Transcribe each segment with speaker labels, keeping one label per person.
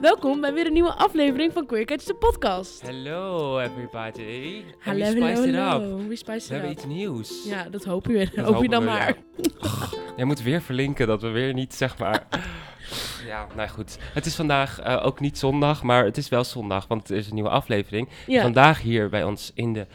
Speaker 1: Welkom bij weer een nieuwe aflevering van Queer Catch, de podcast.
Speaker 2: Hello everybody. Have
Speaker 1: Hallo,
Speaker 2: we spiced it up.
Speaker 1: hallo. We
Speaker 2: We
Speaker 1: spiced
Speaker 2: hebben
Speaker 1: it
Speaker 2: iets
Speaker 1: up.
Speaker 2: nieuws.
Speaker 1: Ja, dat hoop je, hoop je
Speaker 2: hopen
Speaker 1: dan
Speaker 2: we, ja.
Speaker 1: maar.
Speaker 2: Jij moet weer verlinken dat we weer niet zeg maar. ja, nou goed. Het is vandaag eh, ook niet zondag, maar het is wel zondag, want er is een nieuwe aflevering.
Speaker 1: Ja,
Speaker 2: Vandaag hier bij ons in de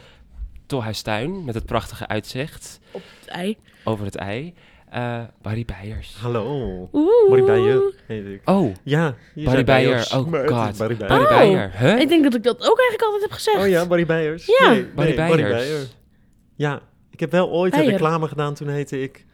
Speaker 2: Tolhuistuin met het prachtige uitzicht
Speaker 1: op het ei.
Speaker 2: over het ei. Eh Barry Beijers.
Speaker 3: Hallo.
Speaker 1: Oeh.
Speaker 3: Barry Beijer heet ik.
Speaker 2: Oh,
Speaker 3: Ja, je
Speaker 2: Barry Beijer.
Speaker 3: zei Beijers,
Speaker 2: Oh
Speaker 3: maar het is
Speaker 2: god.
Speaker 3: Barry Beijer.
Speaker 2: Barry
Speaker 1: Oh.
Speaker 2: Beijer. Huh?
Speaker 1: Ik denk dat ik dat ook eigenlijk altijd heb gezegd.
Speaker 3: Oh ja, Barry Beijers.
Speaker 1: Ja.
Speaker 3: Nee, nee,
Speaker 2: Barry Beijers.
Speaker 3: Ja, ik heb wel ooit
Speaker 1: Beijer.
Speaker 3: een reclame gedaan, toen heette ik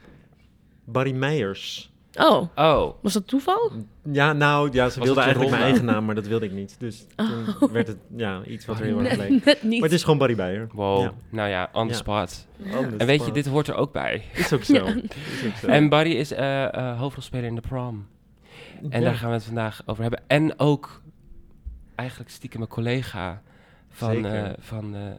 Speaker 3: Barry Meijers.
Speaker 1: Oh,
Speaker 2: Oh,
Speaker 1: was dat toeval?
Speaker 3: Ja, nou, ja, ze
Speaker 2: het
Speaker 3: wilden
Speaker 2: je
Speaker 3: eigenlijk mijn
Speaker 2: ronde?
Speaker 3: eigen naam, maar dat wilde ik niet. Dus
Speaker 1: Oh.
Speaker 3: toen werd het ja, iets
Speaker 2: Oh,
Speaker 3: wat er heel erg
Speaker 1: Net,
Speaker 3: leek.
Speaker 1: net
Speaker 3: Maar het
Speaker 1: niet.
Speaker 3: is gewoon Barry Beijer.
Speaker 2: wow.
Speaker 3: Ja.
Speaker 2: Nou ja, on the
Speaker 3: Ja.
Speaker 2: spot.
Speaker 3: Oh, dat
Speaker 2: En weet je,
Speaker 3: spannend.
Speaker 2: dit hoort er ook bij.
Speaker 3: Is ook zo. Is ook zo.
Speaker 2: En Barry is eh, eh, hoofdrolspeler in The Prom. En
Speaker 3: Ja,
Speaker 2: daar gaan we het vandaag over hebben. En ook eigenlijk stiekem een collega van, eh
Speaker 3: Zeker.
Speaker 2: van eh, eh,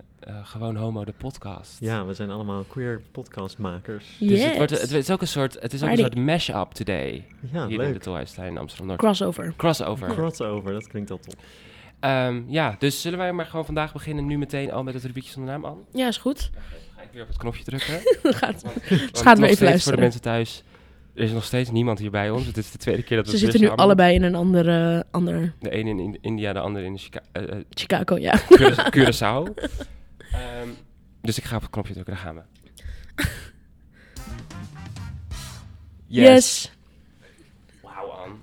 Speaker 2: Gewoon Homo, de podcast.
Speaker 3: ja, we zijn allemaal queer podcastmakers.
Speaker 2: Dus
Speaker 1: Yes.
Speaker 2: het, wordt, het is ook een soort, het is ook een
Speaker 1: Party.
Speaker 2: soort mash-up today. hier
Speaker 3: Ja,
Speaker 2: in de
Speaker 3: Ah, leuk.
Speaker 2: Tolhuistuin in Amsterdam-Noord.
Speaker 1: Crossover.
Speaker 2: Crossover.
Speaker 3: Crossover, dat klinkt al
Speaker 1: Oh,
Speaker 3: top.
Speaker 2: Ehm, ja, dus zullen wij maar gewoon vandaag beginnen, nu meteen al met het rubriekje zonder naam aan?
Speaker 1: Ja, is goed.
Speaker 2: Ga ik weer op het knopje drukken.
Speaker 1: Dat gaat.
Speaker 2: Want
Speaker 1: gaat weer
Speaker 2: nog
Speaker 1: even
Speaker 2: steeds voor
Speaker 1: luisteren.
Speaker 2: de mensen thuis, er is nog steeds niemand hier bij ons. Het is de tweede keer dat
Speaker 1: Ze
Speaker 2: we het
Speaker 1: zitten nu
Speaker 2: weer samen-
Speaker 1: allebei in een andere, ander
Speaker 2: De ene in Ind- India, de andere in Chica eh, eh,
Speaker 1: Chicago, ja.
Speaker 2: Cura- Curaçao. Ehm, dus ik ga op het knopje drukken, daar gaan we.
Speaker 1: Yes.
Speaker 2: Wauw, Ann.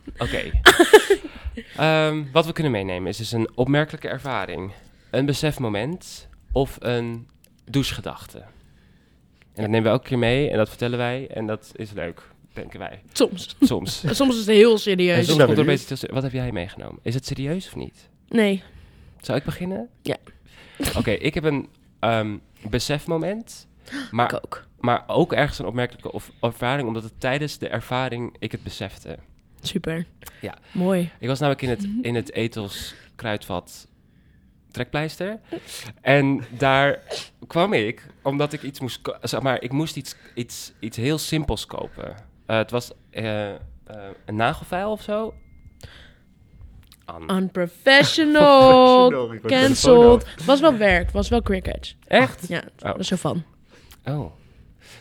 Speaker 2: Oké. Ehm, wat we kunnen meenemen is dus een opmerkelijke ervaring, een besefmoment of een douchegedachte. En dat nemen we elke keer mee en dat vertellen wij en dat is leuk, denken wij.
Speaker 1: Soms.
Speaker 2: Soms.
Speaker 1: En Soms is het heel
Speaker 2: En
Speaker 1: serieus.
Speaker 2: soms
Speaker 3: ben
Speaker 2: komt er
Speaker 3: benieuwd.
Speaker 2: opeens iets tussen. Wat heb jij meegenomen? Is het serieus of niet?
Speaker 1: Nee.
Speaker 2: Zou ik beginnen?
Speaker 1: Ja.
Speaker 2: Oké, ik heb een ehm, besefmoment,
Speaker 1: Ik
Speaker 2: maar,
Speaker 1: ook.
Speaker 2: maar ook ergens een opmerkelijke of, ervaring, omdat het tijdens de ervaring ik het besefte.
Speaker 1: Super.
Speaker 2: Ja.
Speaker 1: Mooi.
Speaker 2: Ik was namelijk in het,
Speaker 1: Mhm.
Speaker 2: in het Ethos Kruidvat trekpleister. En daar kwam ik, omdat ik iets moest... ko- Zeg maar, ik moest iets, iets, iets heel simpels kopen. Eh, het was eh, eh, een nagelfijl of zo. An.
Speaker 1: Unprofessional.
Speaker 3: oh, Ik word telefoon
Speaker 1: Cancelled. Was wel werk. Was wel cricket.
Speaker 2: Echt?
Speaker 1: Ja, dat was zo van.
Speaker 2: Oh.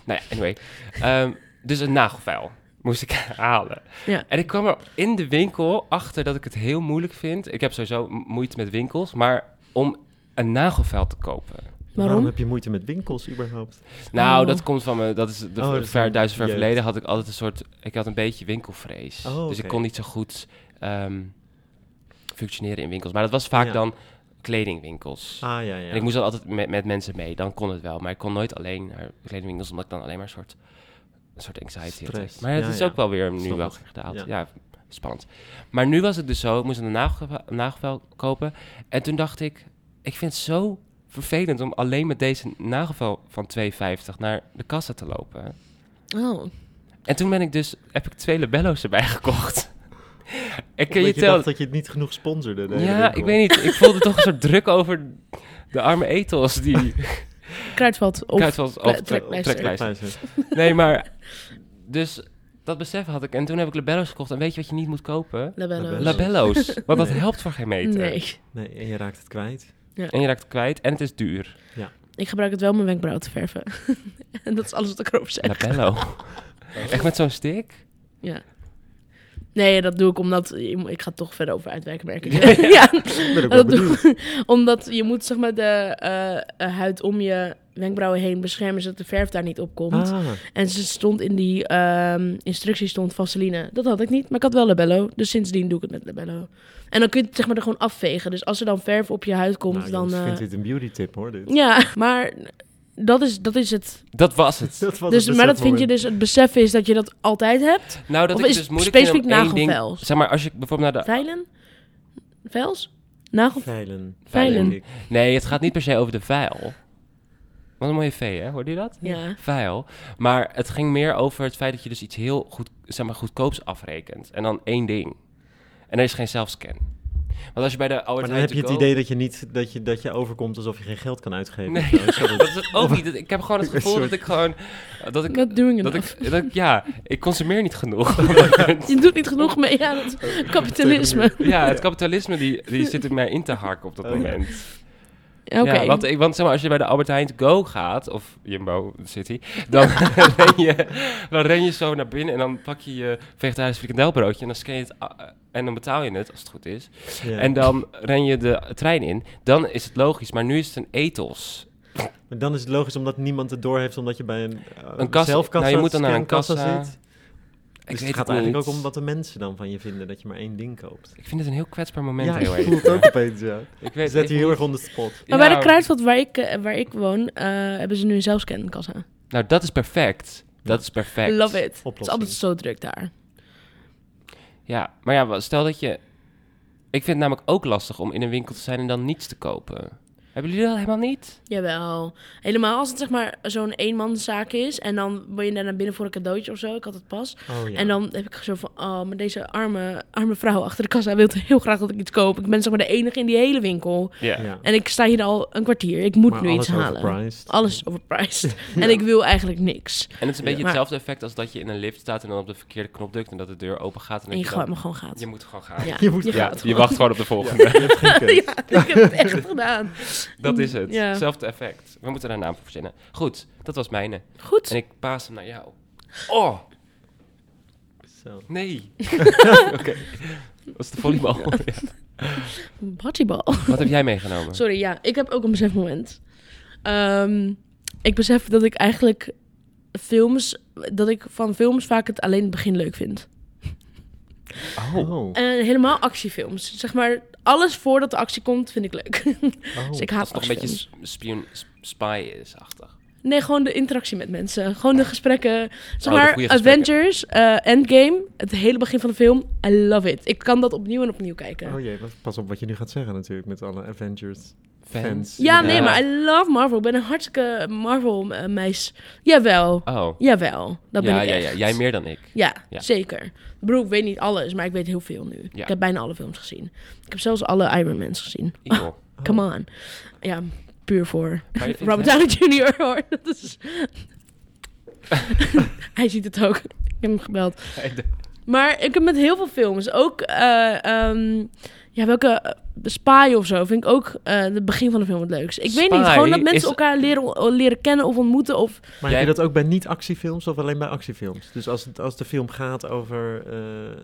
Speaker 2: Nou ja, anyway. Ehm, dus een nagelfijl moest ik halen.
Speaker 1: Ja.
Speaker 2: En ik kwam er in de winkel achter dat ik het heel moeilijk vind. Ik heb sowieso m- moeite met winkels, maar om een nagelfijl te kopen.
Speaker 1: Waarom?
Speaker 3: heb je moeite met winkels überhaupt?
Speaker 2: Nou,
Speaker 1: Oh.
Speaker 2: dat komt van me. Dat is de
Speaker 3: Oh, dat is
Speaker 2: ver,
Speaker 3: een
Speaker 2: duizend ver
Speaker 3: jeugd.
Speaker 2: verleden had ik altijd een soort. Ik had een beetje winkelvrees.
Speaker 3: Oh,
Speaker 2: Dus ik
Speaker 3: oké.
Speaker 2: kon niet zo goed ehm, functioneren in winkels. Maar dat was vaak
Speaker 3: Ja.
Speaker 2: dan kledingwinkels.
Speaker 3: Ah, ja, ja.
Speaker 2: En ik moest dan altijd met, met mensen mee, dan kon het wel. Maar ik kon nooit alleen naar kledingwinkels, omdat ik dan alleen maar een soort, een soort anxiety had.
Speaker 3: Stress,
Speaker 2: Maar het
Speaker 3: ja,
Speaker 2: is
Speaker 3: ja.
Speaker 2: ook wel weer nu
Speaker 3: Snap
Speaker 2: wel
Speaker 3: het,
Speaker 2: gedaald. Ja.
Speaker 3: ja.
Speaker 2: spannend. Maar nu was het dus zo, ik moest een nagel- nagelvel kopen. En toen dacht ik, ik vind het zo vervelend om alleen met deze nagelvel van 2,50 naar de kassa te lopen.
Speaker 1: Oh.
Speaker 2: En toen ben ik dus, heb ik twee labello's erbij gekocht. En kun
Speaker 3: Omdat
Speaker 2: je
Speaker 3: je
Speaker 2: tellen?
Speaker 3: dacht dat je het niet genoeg sponsorde. de hele
Speaker 2: Ja,
Speaker 3: winkel.
Speaker 2: ik weet niet. Ik voelde toch een soort druk over de arme etels die
Speaker 1: Kruidvat. Of...
Speaker 2: Kruidvat of
Speaker 1: Trek-
Speaker 2: trek-
Speaker 1: Eh, trekpleister.
Speaker 2: trekpleister.
Speaker 3: Trekpleister.
Speaker 2: Nee, maar... Dus dat besef had ik. En toen heb ik labello's gekocht. En weet je wat je niet moet kopen?
Speaker 1: Labello's.
Speaker 3: Labello's.
Speaker 2: Labello's. Want dat
Speaker 3: Nee.
Speaker 2: helpt voor geen meter.
Speaker 1: Nee.
Speaker 3: Nee, en je raakt het kwijt.
Speaker 2: En je raakt het kwijt. En het is duur.
Speaker 1: Ik gebruik het wel om mijn wenkbrauw te verven. en dat is alles wat ik erover zeg.
Speaker 2: Labello. Echt met zo'n stick?
Speaker 1: Nee, dat doe ik omdat... je moet- Ik ga het toch verder over uitwerken, merk ik. ja.
Speaker 3: Ik ben ook wel
Speaker 1: Dat doe
Speaker 3: benieuwd.
Speaker 1: ik omdat je moet zeg maar de eh, eh, huid om je wenkbrauwen heen beschermen... zodat de verf daar niet op komt.
Speaker 3: Ah,
Speaker 1: En ze stond in die ehm instructie stond vaseline. Dat had ik niet, maar ik had wel labello. Dus sindsdien doe ik het met labello. En dan kun je het zeg maar er gewoon afvegen. Dus als er dan verf op je huid komt,
Speaker 3: nou,
Speaker 1: dan...
Speaker 3: jongens, ik
Speaker 1: eh,
Speaker 3: vind dit een beauty tip hoor. Dit.
Speaker 1: Ja, maar dat is, dat is het.
Speaker 2: Dat was het.
Speaker 3: Dat was
Speaker 1: Dus,
Speaker 3: het
Speaker 1: maar dat vind je
Speaker 3: besefmoment.
Speaker 1: dus, het besef is dat je dat altijd hebt.
Speaker 2: Nou, dat
Speaker 1: Of
Speaker 2: ik
Speaker 1: is
Speaker 2: dus
Speaker 1: het
Speaker 2: moeilijk vind om
Speaker 1: specifiek
Speaker 2: één ding...
Speaker 1: nagelvels?
Speaker 2: Zeg maar, als je bijvoorbeeld naar de...
Speaker 1: Veilen? Vels? Nagel?
Speaker 3: Veilen.
Speaker 1: dus Veilen.
Speaker 3: denk ik.
Speaker 2: Nee, het gaat niet per se over de vijl. Wat een mooie vee, hè? Hoorde je dat?
Speaker 1: Ja.
Speaker 2: Vijl. Maar het ging meer over het feit dat je dus iets heel goed, zeg maar, goedkoops afrekent. En dan één ding. En er is geen zelfscan. Want als je bij de Albert
Speaker 3: Maar dan
Speaker 2: Heijn
Speaker 3: heb je
Speaker 2: to
Speaker 3: het
Speaker 2: go-
Speaker 3: idee dat je, niet, dat, je, dat je overkomt alsof je geen geld kan uitgeven.
Speaker 2: Nee,
Speaker 3: of zo. Ik snap
Speaker 2: Dat
Speaker 3: het.
Speaker 2: is het ook niet. Ik heb gewoon het gevoel
Speaker 3: Sorry.
Speaker 2: dat ik gewoon... Dat ik,
Speaker 1: Not doing
Speaker 2: dat
Speaker 1: enough.
Speaker 2: ik, dat ik- ja, ik consumeer niet genoeg.
Speaker 1: Je doet niet genoeg mee aan het kapitalisme.
Speaker 2: ja, het kapitalisme die, die zit in mij in te harken op dat
Speaker 3: Oh, ja.
Speaker 2: moment.
Speaker 1: Oké.
Speaker 2: Ja, want, ik- want zeg maar, als je bij de Albert Heijn to Go gaat, of Jumbo City, dan, ren je, dan ren je zo naar binnen en dan pak je je vegetarisch frikandelbroodje en dan scan je het a- en dan betaal je het, als het goed is.
Speaker 3: Ja.
Speaker 2: En dan ren je de trein in. Dan is het logisch, maar nu is het een ethos.
Speaker 3: Maar dan is het logisch omdat niemand het door heeft, omdat je bij een, eh,
Speaker 2: Een kassa-
Speaker 3: zelfkassa,
Speaker 2: nou, je moet dan naar een
Speaker 3: scankassa
Speaker 2: kassa.
Speaker 3: zit.
Speaker 2: Ik
Speaker 3: Dus
Speaker 2: weet
Speaker 3: het gaat
Speaker 2: niet.
Speaker 3: eigenlijk ook om wat de mensen dan van je vinden, dat je maar één ding koopt.
Speaker 2: Ik vind het een heel kwetsbaar moment.
Speaker 3: ja, ik
Speaker 2: heel
Speaker 3: voel
Speaker 2: even.
Speaker 3: het ook opeens, ja.
Speaker 2: Ik
Speaker 3: Je
Speaker 2: weet
Speaker 3: zet je heel
Speaker 2: niet-
Speaker 3: erg on the spot.
Speaker 1: Maar bij de
Speaker 2: Ja,
Speaker 1: Kruidvat waar ik, eh, waar ik woon, eh, hebben ze nu een zelfscankassa.
Speaker 2: Nou, dat is perfect. Dat is perfect.
Speaker 1: Love it. Het is
Speaker 3: Oplossing.
Speaker 1: altijd zo druk daar.
Speaker 2: Ja, maar ja, stel dat je... Ik vind het namelijk ook lastig om in een winkel te zijn en dan niets te kopen. Hebben jullie dat helemaal niet?
Speaker 1: Jawel. Helemaal als het zeg maar zo'n eenmanszaak is en dan ben je daar naar binnen voor een cadeautje of zo. Ik had het pas.
Speaker 3: Oh, ja.
Speaker 1: En dan heb ik zo van, oh, maar deze arme, arme vrouw achter de kassa wil heel graag dat ik iets koop. Ik ben zeg maar de enige in die hele winkel.
Speaker 3: Ja.
Speaker 1: En ik sta hier al een kwartier. Ik moet
Speaker 3: Maar
Speaker 1: nu
Speaker 3: alles
Speaker 1: iets halen. Oh.
Speaker 3: overpriced.
Speaker 1: Alles is overpriced. En ik wil eigenlijk niks.
Speaker 2: En het is een beetje
Speaker 1: Ja.
Speaker 2: hetzelfde effect als dat je in een lift staat en dan op de verkeerde knop drukt en dat de deur open gaat. En, dat
Speaker 1: En je
Speaker 2: je,
Speaker 1: gewoon
Speaker 2: dan-
Speaker 1: maar gewoon gaat.
Speaker 2: je moet gewoon gaan.
Speaker 1: Ja,
Speaker 3: Je moet-
Speaker 2: Ja,
Speaker 1: gaat
Speaker 2: je
Speaker 1: gewoon.
Speaker 2: wacht gewoon op de volgende.
Speaker 3: Je hebt geen keus.
Speaker 1: Ja, ik heb het echt gedaan.
Speaker 2: Dat is het.
Speaker 1: Ja.
Speaker 2: Hetzelfde effect. We moeten daar een naam voor verzinnen. Goed, dat was mijne. En
Speaker 1: Goed.
Speaker 2: ik paas hem naar jou. Oh,
Speaker 3: Zo.
Speaker 2: nee. Oké. Dat is de volleybal. Ja.
Speaker 1: Bodyball.
Speaker 2: Wat heb jij meegenomen?
Speaker 1: Sorry, ja. Ik heb ook een besefmoment. Ehm, ik besef dat ik eigenlijk films... Dat ik van films vaak het alleen het begin leuk vind.
Speaker 2: Oh.
Speaker 1: En helemaal actiefilms. Zeg maar, alles voordat de actie komt vind ik leuk.
Speaker 3: Oh.
Speaker 1: dus ik
Speaker 2: Dat
Speaker 1: haat
Speaker 2: het nog een beetje
Speaker 1: actiefilms.
Speaker 2: sp- spion, sp- spy is achter.
Speaker 1: Nee, gewoon de interactie met mensen. Gewoon de gesprekken. Zeg
Speaker 2: Oh, de
Speaker 1: maar,
Speaker 2: goede gesprekken.
Speaker 1: Avengers, eh, Endgame, het hele begin van de film. I love it. Ik kan dat opnieuw en opnieuw kijken.
Speaker 3: Oh jee, wat- pas op wat je nu gaat zeggen natuurlijk met alle Avengers
Speaker 2: Fans.
Speaker 3: fans.
Speaker 1: ja,
Speaker 2: Ja.
Speaker 1: nee, maar I love Marvel. Ik ben een hartstikke Marvel-meis. Jawel.
Speaker 2: Oh.
Speaker 1: Jawel. Dat ben
Speaker 2: ja,
Speaker 1: ik
Speaker 2: ja,
Speaker 1: echt.
Speaker 2: ja, jij meer dan ik.
Speaker 1: Ja,
Speaker 2: Ja.
Speaker 1: zeker. Ik bedoel, ik weet niet alles, maar ik weet heel veel nu.
Speaker 2: Ja.
Speaker 1: Ik heb bijna alle films gezien. Ik heb zelfs alle Iron Man's gezien.
Speaker 2: Eagle.
Speaker 3: Oh.
Speaker 1: Come on. Ja, puur voor
Speaker 2: Maar Oh. je vindt
Speaker 1: Robert
Speaker 2: hem-
Speaker 1: Downey Jr. hoor. Dat is... Hij ziet het ook. Ik heb hem gebeld. Maar ik heb met heel veel films ook. eh, ehm, ja, welke. eh, Spy of zo vind ik ook eh, het begin van de film het leukst. Ik weet niet,
Speaker 2: Spy
Speaker 1: gewoon dat mensen
Speaker 2: is-
Speaker 1: elkaar leren, leren kennen of ontmoeten. Of...
Speaker 3: Maar
Speaker 2: Jij-
Speaker 3: heb je dat ook bij niet-actiefilms of alleen bij actiefilms? Dus als, het, als de film gaat over eh, eh,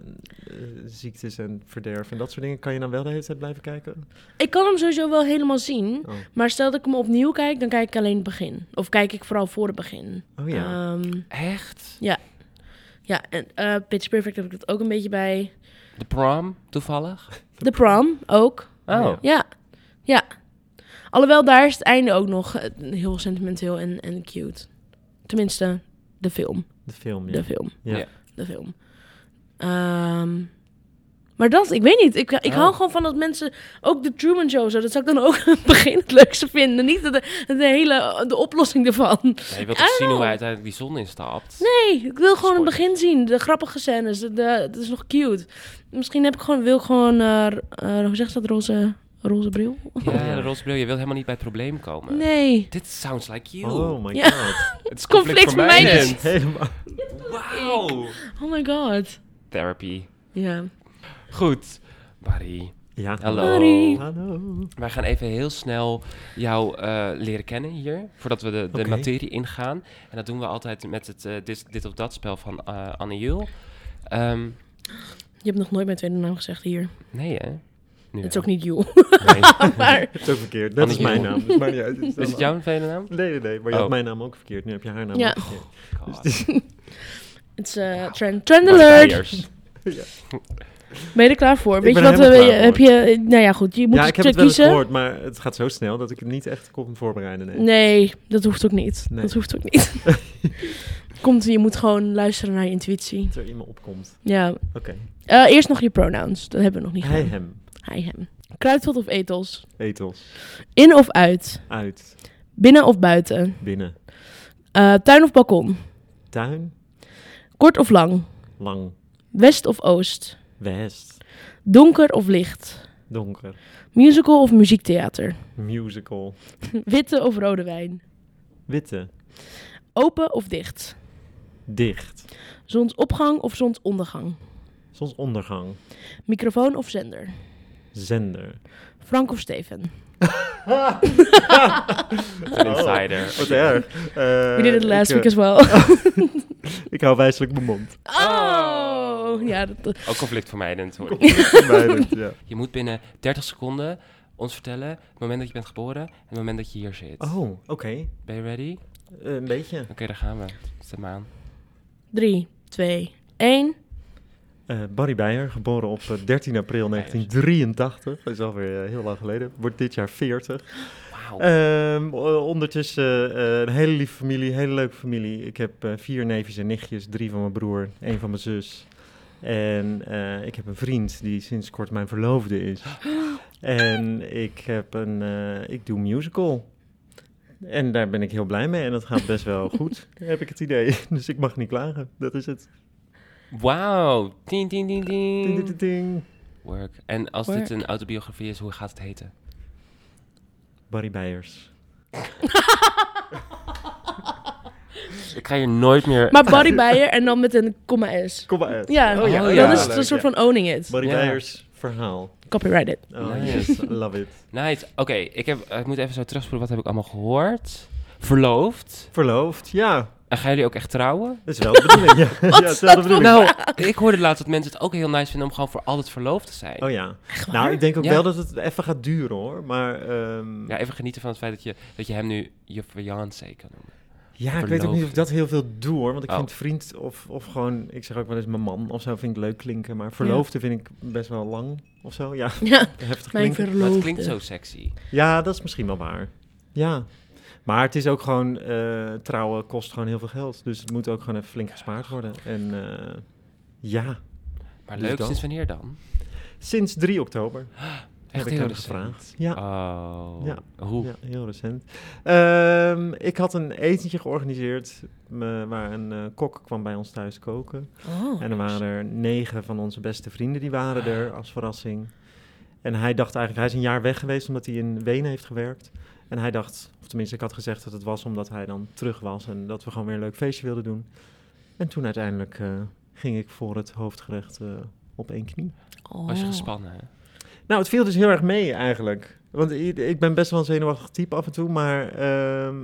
Speaker 3: ziektes en verderf en dat soort dingen, kan je dan wel de hele tijd blijven kijken?
Speaker 1: Ik kan hem sowieso wel helemaal zien.
Speaker 3: Oh,
Speaker 1: Maar stel dat ik hem opnieuw kijk, dan kijk ik alleen het begin. Of kijk ik vooral voor het begin.
Speaker 3: oh ja.
Speaker 1: Ehm,
Speaker 2: Echt?
Speaker 1: ja, en eh, Pitch Perfect heb ik dat ook een beetje bij.
Speaker 2: De prom, toevallig?
Speaker 1: The Prom ook.
Speaker 2: Oh.
Speaker 1: Ja, ja. Alhoewel, daar is het einde ook nog eh, heel sentimenteel en, en cute. Tenminste, de film.
Speaker 3: de film, ja.
Speaker 1: De film.
Speaker 3: Ja.
Speaker 2: Ja.
Speaker 1: De film. Ehm, maar dat, ik weet niet. Ik, ik
Speaker 2: Oh.
Speaker 1: hou gewoon van dat mensen... Ook de Truman Show, zo, dat zou ik dan ook aan het begin het leukste vinden. Niet de, de hele de oplossing ervan.
Speaker 2: Ja,
Speaker 1: I
Speaker 2: je wilt toch
Speaker 1: don't
Speaker 2: zien hoe
Speaker 1: know.
Speaker 2: hij uiteindelijk die zon instapt?
Speaker 1: Nee, ik wil gewoon het
Speaker 2: Spoiler.
Speaker 1: begin zien. De grappige scènes. de- de- Het is nog cute. Misschien heb ik gewoon, wil ik gewoon... eh, r- eh, hoe zeg je dat? Roze, roze bril?
Speaker 2: Ja, de roze bril, je wilt helemaal niet bij het probleem komen.
Speaker 1: Nee.
Speaker 2: Dit sounds like you.
Speaker 3: Oh my
Speaker 1: Ja.
Speaker 3: god.
Speaker 2: Het is
Speaker 1: conflict dus. vermijdend.
Speaker 2: vermijdend.
Speaker 3: Helemaal.
Speaker 2: Wauw.
Speaker 1: Oh my god.
Speaker 2: Therapy.
Speaker 1: Ja.
Speaker 2: Goed. Barry,
Speaker 3: Ja.
Speaker 2: hallo.
Speaker 1: Barry.
Speaker 3: Hallo.
Speaker 2: Wij gaan even heel snel jou eh, leren kennen hier, voordat we de, de
Speaker 3: Oké.
Speaker 2: materie ingaan. En dat doen we altijd met het eh, dit, dit of dat spel van eh, Anne Jul. Ehm,
Speaker 1: Je hebt nog nooit mijn tweede naam gezegd hier.
Speaker 2: nee hè? Nu
Speaker 1: Het is
Speaker 2: wel.
Speaker 1: ook niet Joel.
Speaker 2: Nee.
Speaker 1: maar...
Speaker 3: Het is ook verkeerd. Dat is
Speaker 2: Annie
Speaker 3: mijn
Speaker 2: Joel.
Speaker 3: naam. Dus maar ja, het
Speaker 2: Is het jouw vele naam?
Speaker 3: Nee, nee, nee. Maar je
Speaker 2: Oh.
Speaker 3: had mijn naam ook verkeerd. Nu heb je haar naam
Speaker 1: Ja.
Speaker 3: ook verkeerd.
Speaker 2: God.
Speaker 1: Het is eh, trend, trend alert.
Speaker 2: Barriers.
Speaker 1: Ben je er klaar voor? Weet je
Speaker 3: ben
Speaker 1: wat
Speaker 3: er
Speaker 1: we...
Speaker 3: helemaal klaar
Speaker 1: Heb je... Nou ja, goed. Je moet
Speaker 3: ja,
Speaker 1: het
Speaker 3: ik heb het wel eens
Speaker 1: kiezen.
Speaker 3: gehoord, maar het gaat zo snel dat ik het niet echt kon voorbereiden. Nee.
Speaker 1: Nee, dat hoeft ook niet.
Speaker 3: Nee.
Speaker 1: Dat hoeft ook niet. Komt, je moet gewoon luisteren naar je intuïtie.
Speaker 3: Dat er iemand opkomt.
Speaker 1: Ja.
Speaker 3: Oké.
Speaker 1: Eh, eerst nog je pronouns. Dat hebben we nog niet
Speaker 3: Hij,
Speaker 1: gedaan.
Speaker 3: hem.
Speaker 1: Hij, hem. Kruidvat of etels?
Speaker 3: Etels.
Speaker 1: In of uit?
Speaker 3: Uit.
Speaker 1: Binnen of buiten?
Speaker 3: Binnen.
Speaker 1: Eh, tuin of balkon?
Speaker 3: Tuin.
Speaker 1: Kort of lang?
Speaker 3: Lang.
Speaker 1: West of oost?
Speaker 3: West.
Speaker 1: Donker of licht?
Speaker 3: Donker.
Speaker 1: Musical of muziektheater?
Speaker 3: Musical.
Speaker 1: Witte of rode wijn?
Speaker 3: Witte.
Speaker 1: Open of dicht?
Speaker 3: Dicht.
Speaker 1: Zonsopgang of zonsondergang?
Speaker 3: Zonsondergang.
Speaker 1: Microfoon of zender?
Speaker 3: Zender.
Speaker 1: Frank of Steven?
Speaker 2: Een insider.
Speaker 3: Oh, Wat erg. Eh,
Speaker 1: We did it last
Speaker 3: ik, eh,
Speaker 1: week as well.
Speaker 3: Ik hou wijselijk mijn mond.
Speaker 1: Oh! Ja, dat,
Speaker 2: Ook conflictvermijdend hoor.
Speaker 3: Vermijdend, ja.
Speaker 2: Je moet binnen 30 seconden ons vertellen het moment dat je bent geboren en het moment dat je hier zit.
Speaker 3: Oh, oké.
Speaker 2: Ben je ready? Oké,
Speaker 3: Eh, een beetje.
Speaker 2: daar gaan we. Zet maar aan.
Speaker 1: 3, 2, 1.
Speaker 3: Eh, Barry Beijer, geboren op eh, 13 april 1983. Dat is alweer eh, heel lang geleden. Wordt dit jaar 40.
Speaker 2: Wauw.
Speaker 3: Ehm, o- ondertussen eh, een hele lieve familie, hele leuke familie. Ik heb eh, vier neefjes en nichtjes, drie van mijn broer, één van mijn zus. En eh, ik heb een vriend die sinds kort mijn verloofde is. En ik, heb een, eh, ik doe musical. En daar ben ik heel blij mee en dat gaat best wel goed, heb ik het idee. Dus ik mag niet klagen, dat is het.
Speaker 2: Wauw. Ding, ding, ding,
Speaker 3: Ding, ding,
Speaker 2: ding.
Speaker 3: ding, ding.
Speaker 2: Work. En als
Speaker 1: Work.
Speaker 2: dit een autobiografie is, hoe gaat het heten?
Speaker 3: Barry Beiers.
Speaker 2: Ik ga hier nooit meer...
Speaker 1: Maar Barry Beijer en dan met een comma S.
Speaker 3: Kom maar uit.
Speaker 1: Ja,
Speaker 2: Oh ja,
Speaker 1: dan
Speaker 2: ja,
Speaker 1: is het
Speaker 3: leuk,
Speaker 1: een soort
Speaker 3: ja.
Speaker 1: van owning it.
Speaker 3: Barry
Speaker 2: Ja.
Speaker 3: Beiers verhaal.
Speaker 1: Copyright it.
Speaker 3: Oh
Speaker 2: Nice.
Speaker 3: yes, love it.
Speaker 2: Nice. Oké, ik, heb- ik moet even zo terugspoelen. Wat heb ik allemaal gehoord? Verloofd.
Speaker 3: Verloofd, ja.
Speaker 2: En gaan jullie ook echt trouwen?
Speaker 3: Dat is wel de bedoeling. ja, ja, dat is wel de bedoeling.
Speaker 2: Nou, ik hoorde laatst dat mensen het ook heel nice vinden om gewoon voor altijd verloofd te zijn.
Speaker 3: Oh ja. Nou, ik denk ook
Speaker 2: Ja.
Speaker 3: wel dat het even gaat duren hoor. Maar ehm,
Speaker 2: Ja, even genieten van het feit dat je, dat je hem nu je fiancé kan noemen.
Speaker 3: ja, ik weet ook niet of
Speaker 2: verloofd.
Speaker 3: ik dat heel veel doe hoor. Want ik
Speaker 2: Oh.
Speaker 3: vind vriend of, of gewoon, ik zeg ook wel eens mijn man of zo, vind ik leuk klinken. Maar verloofde vind ik best wel lang of zo. Ja,
Speaker 1: Ja,
Speaker 3: heftig
Speaker 1: mijn
Speaker 3: klinken.
Speaker 2: Maar het
Speaker 1: verloofde.
Speaker 2: klinkt zo sexy.
Speaker 3: Ja, dat is misschien wel waar. Ja. Maar het is ook gewoon, eh, trouwen kost gewoon heel veel geld. Dus het moet ook gewoon even flink gespaard worden. En eh, ja,
Speaker 2: Maar
Speaker 3: Dus
Speaker 2: leuk,
Speaker 3: dat.
Speaker 2: sinds wanneer dan?
Speaker 3: sinds 3 oktober heb ik
Speaker 2: heel
Speaker 3: hem
Speaker 2: recent.
Speaker 3: gevraagd. Ja.
Speaker 2: Oh.
Speaker 3: Ja.
Speaker 2: Hoe?
Speaker 3: Ja, heel recent. Ehm, ik had een etentje georganiseerd me- waar een eh, kok kwam bij ons thuis koken.
Speaker 1: Oh.
Speaker 3: En er waren er negen van onze beste vrienden die waren
Speaker 2: Ah.
Speaker 3: er als verrassing. En hij dacht eigenlijk, hij is een jaar weg geweest omdat hij in Wenen heeft gewerkt. En hij dacht, of tenminste ik had gezegd dat het was omdat hij dan terug was en dat we gewoon weer een leuk feestje wilden doen. En toen uiteindelijk eh, ging ik voor het hoofdgerecht eh, op één knie.
Speaker 2: Was je
Speaker 1: Oh.
Speaker 2: gespannen? hè?
Speaker 3: Nou, het viel dus heel erg mee eigenlijk. Want i- ik ben best wel een zenuwachtig type af en toe, maar ehm,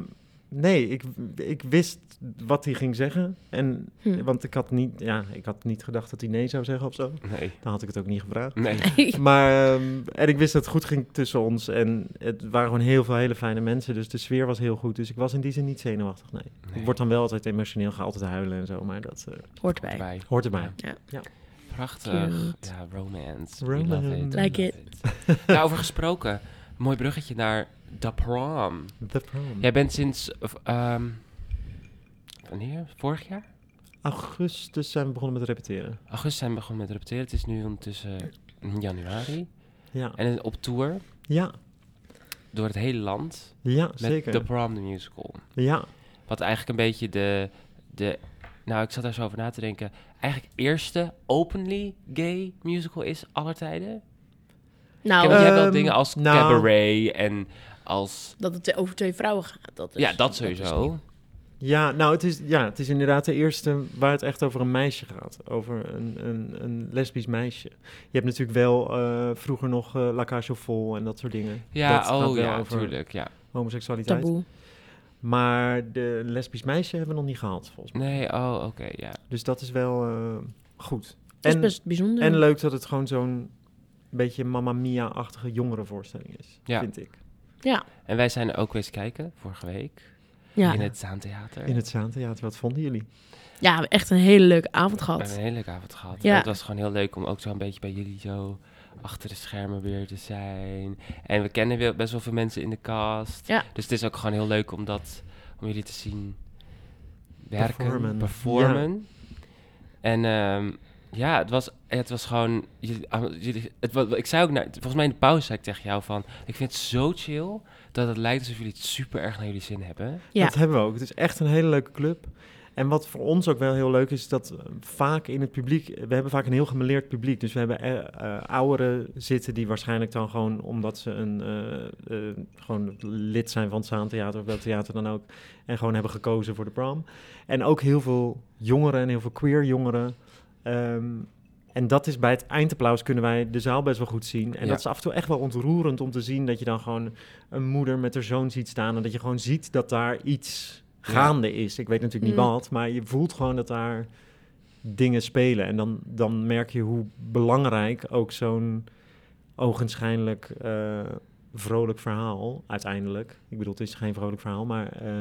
Speaker 3: nee, ik, ik wist wat hij ging zeggen. En,
Speaker 1: Hm.
Speaker 3: Want ik had, niet, ja, ik had niet gedacht dat hij nee zou zeggen of zo.
Speaker 2: Nee.
Speaker 3: Dan had ik het ook niet gevraagd.
Speaker 2: Nee.
Speaker 3: Maar, ehm, en ik wist dat het goed ging tussen ons. En het waren gewoon heel veel hele fijne mensen, dus de sfeer was heel goed. Dus ik was in die zin niet zenuwachtig, nee.
Speaker 2: Nee.
Speaker 3: Ik word dan wel altijd emotioneel, ga altijd huilen en zo, maar dat eh,
Speaker 1: Hoort bij.
Speaker 2: Erbij.
Speaker 3: hoort erbij.
Speaker 2: Prachtig.
Speaker 1: Cute.
Speaker 2: Ja, romance. We
Speaker 3: Romance.
Speaker 2: love it.
Speaker 1: Like
Speaker 2: We love it. Daarover gesproken. Mooi bruggetje naar de prom.
Speaker 3: The prom.
Speaker 2: Jij bent sinds... of, ehm, wanneer? Vorig jaar?
Speaker 3: Augustus zijn we begonnen met repeteren.
Speaker 2: Augustus zijn we begonnen met repeteren. Het is nu ondertussen januari.
Speaker 3: Ja,
Speaker 2: En op tour
Speaker 3: ja,
Speaker 2: door het hele land.
Speaker 3: ja
Speaker 2: Met
Speaker 3: zeker.
Speaker 2: The Prom, the musical.
Speaker 3: Ja,
Speaker 2: Wat eigenlijk een beetje de, de... Nou, ik zat daar zo over na te denken. Eigenlijk eerste openly gay musical is aller tijden. Kijk, eh,
Speaker 1: Nou,
Speaker 2: want je hebt wel
Speaker 3: Ehm,
Speaker 2: dingen als
Speaker 3: nou.
Speaker 2: cabaret en als...
Speaker 1: dat het over twee vrouwen gaat. Dat is,
Speaker 2: ja, dat
Speaker 1: is
Speaker 2: sowieso.
Speaker 1: niet-
Speaker 3: ja nou, het is, ja, het is inderdaad de eerste waar het echt over een meisje gaat. Over een, een, een lesbisch meisje. Je hebt natuurlijk wel eh, vroeger nog eh La Cage aux Folles en dat soort dingen.
Speaker 2: ja,
Speaker 3: dat gaat
Speaker 2: oh
Speaker 3: wel
Speaker 2: ja,
Speaker 3: over
Speaker 2: natuurlijk. Ja.
Speaker 3: homoseksualiteit.
Speaker 1: Taboe.
Speaker 3: Maar de lesbisch meisje hebben we nog niet gehad, volgens mij.
Speaker 2: Nee, oh, oké, ja.
Speaker 3: Dus dat is wel eh, goed.
Speaker 1: Dat is
Speaker 3: En,
Speaker 1: best bijzonder.
Speaker 3: en leuk dat het gewoon zo'n beetje Mamma Mia-achtige jongerenvoorstelling is,
Speaker 2: Ja.
Speaker 3: vind ik.
Speaker 2: En wij zijn er ook eens kijken, vorige week,
Speaker 1: ja.
Speaker 2: in het Zaantheater.
Speaker 3: In het Zaantheater, wat vonden jullie?
Speaker 1: ja, echt een hele leuke avond
Speaker 2: We hebben
Speaker 1: gehad.
Speaker 2: een hele leuke avond gehad.
Speaker 1: Ja.
Speaker 2: Het was gewoon heel leuk om ook zo een beetje bij jullie zo achter de schermen weer te zijn. En we kennen wel- best wel veel mensen in de cast.
Speaker 1: Ja.
Speaker 2: Dus het is ook gewoon heel leuk om dat, om jullie te zien werken, performen.
Speaker 3: Performen.
Speaker 2: En ehm, ja, het was, het was gewoon, jullie- ah, jullie- het, wa- ik zei ook, naar, volgens mij in de pauze zei ik tegen jou van, ik vind het zo chill dat het lijkt alsof jullie het super erg naar jullie zin hebben.
Speaker 1: Ja.
Speaker 3: Dat hebben we ook. Het is echt een hele leuke club. En wat voor ons ook wel heel leuk is, dat eh, vaak in het publiek, eh, we hebben vaak een heel gemeleerd publiek. Dus we hebben eh, eh, ouderen zitten die waarschijnlijk dan gewoon, omdat ze een, eh, eh, gewoon lid zijn van het Zaantheater of welk theater dan ook, en gewoon hebben gekozen voor de prom. En ook heel veel jongeren en heel veel queer jongeren. Ehm, en dat is bij het eindapplaus kunnen wij de zaal best wel goed zien. En
Speaker 2: Ja.
Speaker 3: dat is af en toe echt wel ontroerend om te zien dat je dan gewoon een moeder met haar zoon ziet staan. En dat je gewoon ziet dat daar iets
Speaker 2: Ja.
Speaker 3: gaande is. Ik weet natuurlijk niet
Speaker 1: Mm.
Speaker 3: wat, maar je voelt gewoon dat daar dingen spelen. En dan, dan merk je hoe belangrijk ook zo'n ogenschijnlijk eh, vrolijk verhaal uiteindelijk. Ik bedoel, het is geen vrolijk verhaal, maar eh,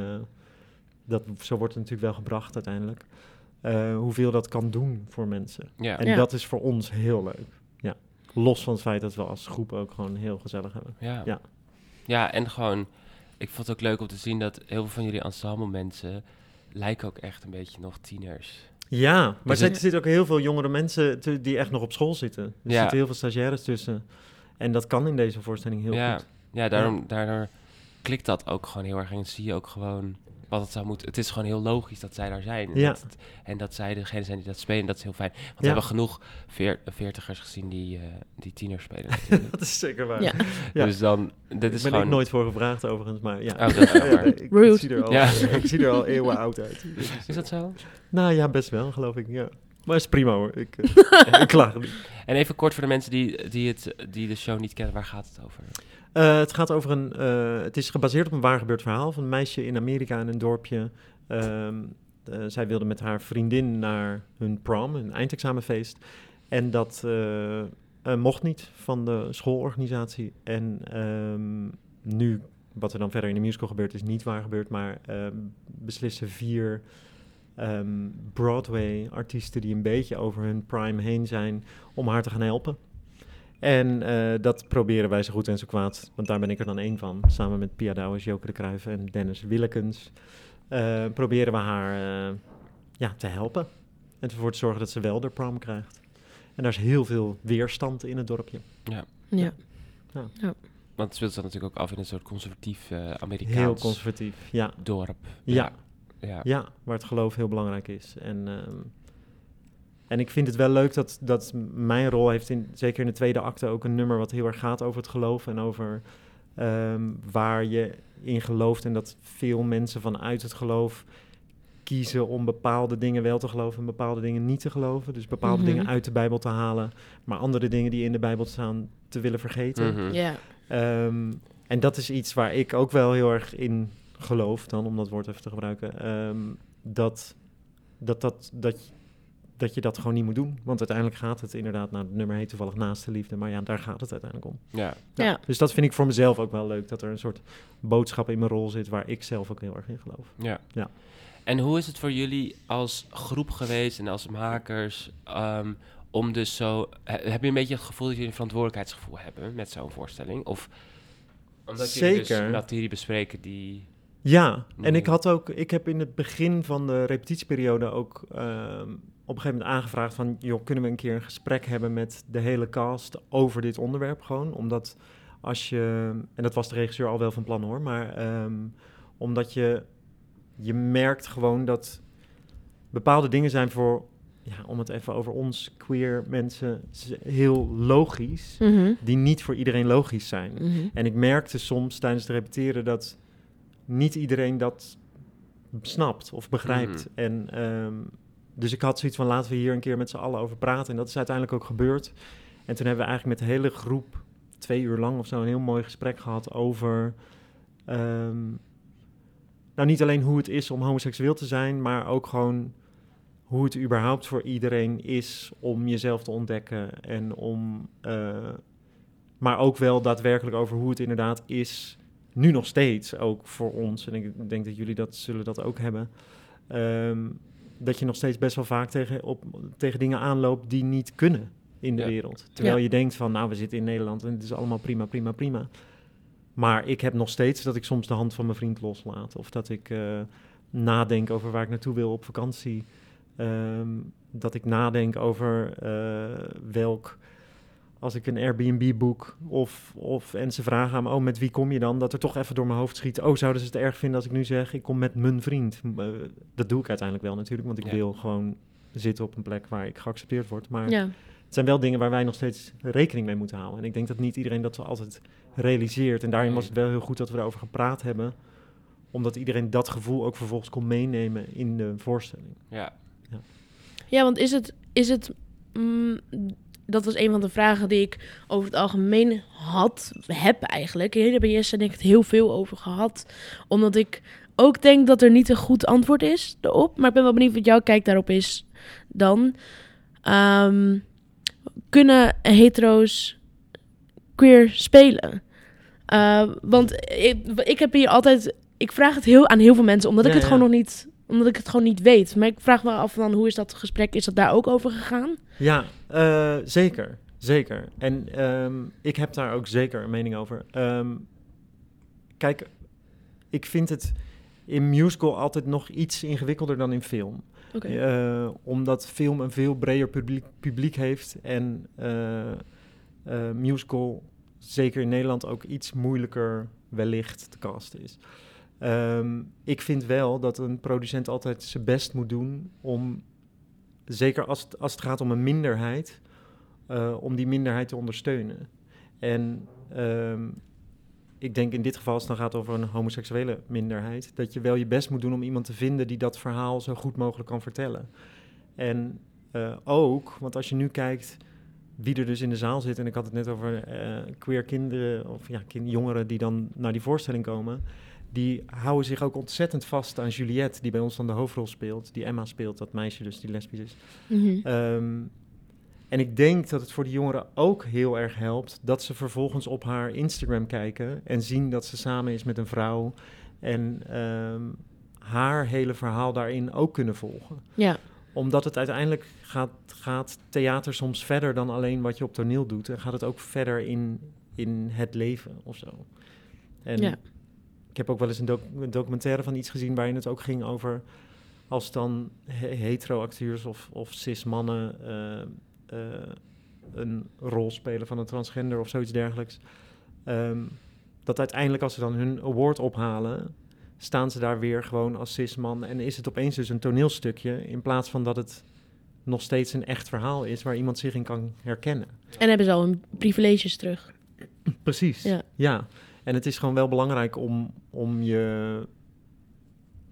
Speaker 3: dat, zo wordt het natuurlijk wel gebracht uiteindelijk. eh, hoeveel dat kan doen voor mensen.
Speaker 2: Ja.
Speaker 3: En
Speaker 1: Ja.
Speaker 3: dat is voor ons heel leuk. Ja. Los van het feit dat we als groep ook gewoon heel gezellig hebben.
Speaker 2: Ja.
Speaker 3: Ja.
Speaker 2: ja. en gewoon... Ik vond het ook leuk om te zien dat heel veel van jullie ensemble mensen... lijken ook echt een beetje nog tieners.
Speaker 3: Ja, maar
Speaker 2: Dus
Speaker 3: er
Speaker 2: het-
Speaker 3: zitten ook heel veel jongere mensen te- die echt nog op school zitten. Er
Speaker 2: Ja.
Speaker 3: zitten heel veel stagiaires tussen. En dat kan in deze voorstelling heel
Speaker 2: ja.
Speaker 3: goed.
Speaker 2: Ja, daarom, daardoor klikt dat ook gewoon heel erg. En zie je ook gewoon wat het zou moeten... Het is gewoon heel logisch dat zij daar zijn. En
Speaker 3: Ja.
Speaker 2: Dat, het- en dat zij degene zijn die dat spelen. Dat is heel fijn. Want
Speaker 3: Ja.
Speaker 2: we hebben genoeg veer, veertigers gezien die, eh, die tieners spelen. natuurlijk.
Speaker 3: Dat is zeker waar.
Speaker 1: Ja.
Speaker 3: Ja.
Speaker 2: Dus dan... Dit
Speaker 3: Dit
Speaker 2: is
Speaker 3: is ben
Speaker 2: gewoon...
Speaker 3: ik nooit voor gevraagd overigens, maar ja.
Speaker 2: Oh, dat is wel waar.
Speaker 3: ik,
Speaker 1: Rude.
Speaker 3: zie er al,
Speaker 2: Ja.
Speaker 3: ik zie er al eeuwen oud uit.
Speaker 2: Is dat zo?
Speaker 3: Nou ja, best wel, geloof ik. Ja. Maar is prima hoor. Ik, eh, ik klaag er niet.
Speaker 2: En even kort voor de mensen die, die, het, die de show niet kennen, waar gaat het over?
Speaker 3: Eh, het gaat over een. eh, het is gebaseerd op een waargebeurd verhaal van een meisje in Amerika in een dorpje. Ehm, eh, zij wilde met haar vriendin naar hun prom, hun eindexamenfeest. En dat eh, eh, mocht niet van de schoolorganisatie. En ehm, nu, wat er dan verder in de musical gebeurt, is niet waar gebeurd. Maar eh, beslissen vier ehm, Broadway-artiesten die een beetje over hun prime heen zijn, om haar te gaan helpen. En eh, dat proberen wij zo goed en zo kwaad, want daar ben ik er dan één van. Samen met Pia Douwens, Joke de Cruijff en Dennis Willekens eh, proberen we haar eh, ja, te helpen. En ervoor te zorgen dat ze wel de prom krijgt. En daar is heel veel weerstand in het dorpje.
Speaker 1: Ja.
Speaker 2: Want het speelt zich natuurlijk ook af in een soort conservatief eh Amerikaans
Speaker 3: Heel conservatief, ja.
Speaker 2: dorp.
Speaker 3: Ja.
Speaker 2: Ja. Ja.
Speaker 3: Ja, waar het geloof heel belangrijk is. En, ehm, en ik vind het wel leuk dat, dat mijn rol heeft, in, zeker in de tweede acte, ook een nummer wat heel erg gaat over het geloof en over ehm, waar je in gelooft. En dat veel mensen vanuit het geloof kiezen om bepaalde dingen wel te geloven en bepaalde dingen niet te geloven. Dus bepaalde
Speaker 1: Mhm.
Speaker 3: dingen uit de Bijbel te halen, maar andere dingen die in de Bijbel staan te willen vergeten.
Speaker 2: Mhm.
Speaker 1: Ja.
Speaker 3: Ehm, en dat is iets waar ik ook wel heel erg in geloof, dan om dat woord even te gebruiken. ehm, dat, dat, dat, dat, dat je dat gewoon niet moet doen. Want uiteindelijk gaat het inderdaad, nou, het nummer heet toevallig Naast de Liefde, maar ja, daar gaat het uiteindelijk om.
Speaker 2: Ja.
Speaker 1: Ja.
Speaker 3: Dus dat vind ik voor mezelf ook wel leuk, dat er een soort boodschap in mijn rol zit waar ik zelf ook heel erg in geloof.
Speaker 2: Ja.
Speaker 3: Ja.
Speaker 2: En hoe is het voor jullie als groep geweest en als makers ehm, om dus zo... he- Heb je een beetje het gevoel dat jullie een verantwoordelijkheidsgevoel hebben met zo'n voorstelling? Of omdat jullie
Speaker 3: Zeker.
Speaker 2: dus materie bespreken die...
Speaker 3: Ja, en
Speaker 2: Ja.
Speaker 3: ik had ook, ik heb in het begin van de repetitieperiode ook ehm, op een gegeven moment aangevraagd van, joh, kunnen we een keer een gesprek hebben met de hele cast over dit onderwerp gewoon, omdat als je, en dat was de regisseur al wel van plan hoor, maar ehm, omdat je, je merkt gewoon dat bepaalde dingen zijn voor, ja, om het even over ons queer mensen, z- heel logisch,
Speaker 1: Mhm.
Speaker 3: die niet voor iedereen logisch zijn.
Speaker 1: Mhm.
Speaker 3: En ik merkte soms tijdens het repeteren dat niet iedereen dat snapt of begrijpt. En, ehm, dus ik had zoiets van laten we hier een keer met z'n allen over praten. En dat is uiteindelijk ook gebeurd. En toen hebben we eigenlijk met de hele groep twee uur lang of zo een heel mooi gesprek gehad over. ehm, nou, niet alleen hoe het is om homoseksueel te zijn, maar ook gewoon hoe het überhaupt voor iedereen is om jezelf te ontdekken en om. eh, maar ook wel daadwerkelijk over hoe het inderdaad is. Nu nog steeds, ook voor ons. En ik denk dat jullie dat zullen dat ook hebben. Ehm, dat je nog steeds best wel vaak tegen, op, tegen dingen aanloopt die niet kunnen in de
Speaker 2: Ja.
Speaker 3: wereld. Terwijl
Speaker 1: Ja.
Speaker 3: je denkt van, nou, we zitten in Nederland en het is allemaal prima, prima, prima. Maar ik heb nog steeds dat ik soms de hand van mijn vriend loslaat. Of dat ik eh, nadenk over waar ik naartoe wil op vakantie. Ehm, dat ik nadenk over eh, welk als ik een Airbnb boek of, of en ze vragen aan me, oh, met wie kom je dan? Dat er toch even door mijn hoofd schiet, oh, zouden ze het erg vinden als ik nu zeg, ik kom met mijn vriend? M- eh, dat doe ik uiteindelijk wel natuurlijk, want ik
Speaker 2: Ja.
Speaker 3: wil gewoon zitten op een plek waar ik geaccepteerd word. Maar
Speaker 1: Ja.
Speaker 3: het zijn wel dingen waar wij nog steeds rekening mee moeten houden. En ik denk dat niet iedereen dat zo altijd realiseert. En daarin was het wel heel goed dat we erover gepraat hebben. Omdat iedereen dat gevoel ook vervolgens kon meenemen in de voorstelling.
Speaker 2: Ja.
Speaker 1: ja, want is het... Is het mm, dat was een van de vragen die ik over het algemeen had, heb eigenlijk. Hier bij Jesse en ik het heel veel over gehad. Omdat ik ook denk dat er niet een goed antwoord is erop. Maar ik ben wel benieuwd wat jouw kijk daarop is dan. Ehm, kunnen hetero's queer spelen? Eh, want ik, ik heb hier altijd... Ik vraag het heel aan heel veel mensen, omdat ik
Speaker 3: Ja,
Speaker 1: het
Speaker 3: ja.
Speaker 1: gewoon nog niet omdat ik het gewoon niet weet. Maar ik vraag me af van hoe is dat gesprek? Is dat daar ook over gegaan?
Speaker 3: Ja, eh, zeker. Zeker. En ehm, ik heb daar ook zeker een mening over. Ehm, kijk, ik vind het in musical altijd nog iets ingewikkelder dan in film.
Speaker 1: Oké.
Speaker 3: Eh, omdat film een veel breder publiek, publiek heeft en eh, eh, musical, zeker in Nederland, ook iets moeilijker wellicht te casten is. Ehm, ik vind wel dat een producent altijd zijn best moet doen om, zeker als het, als het gaat om een minderheid, eh, om die minderheid te ondersteunen. En ehm, ik denk in dit geval, als het dan gaat over een homoseksuele minderheid, dat je wel je best moet doen om iemand te vinden die dat verhaal zo goed mogelijk kan vertellen. En eh, ook, want als je nu kijkt wie er dus in de zaal zit, en ik had het net over eh, queer kinderen of ja, kind, jongeren die dan naar die voorstelling komen, die houden zich ook ontzettend vast aan Juliette, die bij ons dan de hoofdrol speelt, die Emma speelt, dat meisje dus die lesbisch is.
Speaker 1: Mhm.
Speaker 3: Ehm, en ik denk dat het voor die jongeren ook heel erg helpt dat ze vervolgens op haar Instagram kijken en zien dat ze samen is met een vrouw en ehm, haar hele verhaal daarin ook kunnen volgen.
Speaker 1: Ja.
Speaker 3: Omdat het uiteindelijk gaat, gaat theater soms verder dan alleen wat je op toneel doet en gaat het ook verder in, in het leven of zo. En
Speaker 1: Ja.
Speaker 3: ik heb ook wel eens een, doc- een documentaire van iets gezien waarin het ook ging over als dan he- hetero-acteurs of, of cis-mannen eh, eh, een rol spelen van een transgender of zoiets dergelijks. ehm, dat uiteindelijk als ze dan hun award ophalen, staan ze daar weer gewoon als cis-man. En is het opeens dus een toneelstukje in plaats van dat het nog steeds een echt verhaal is waar iemand zich in kan herkennen.
Speaker 1: En hebben ze al hun privileges terug?
Speaker 3: Precies.
Speaker 1: Ja.
Speaker 3: Ja. En het is gewoon wel belangrijk om, om je.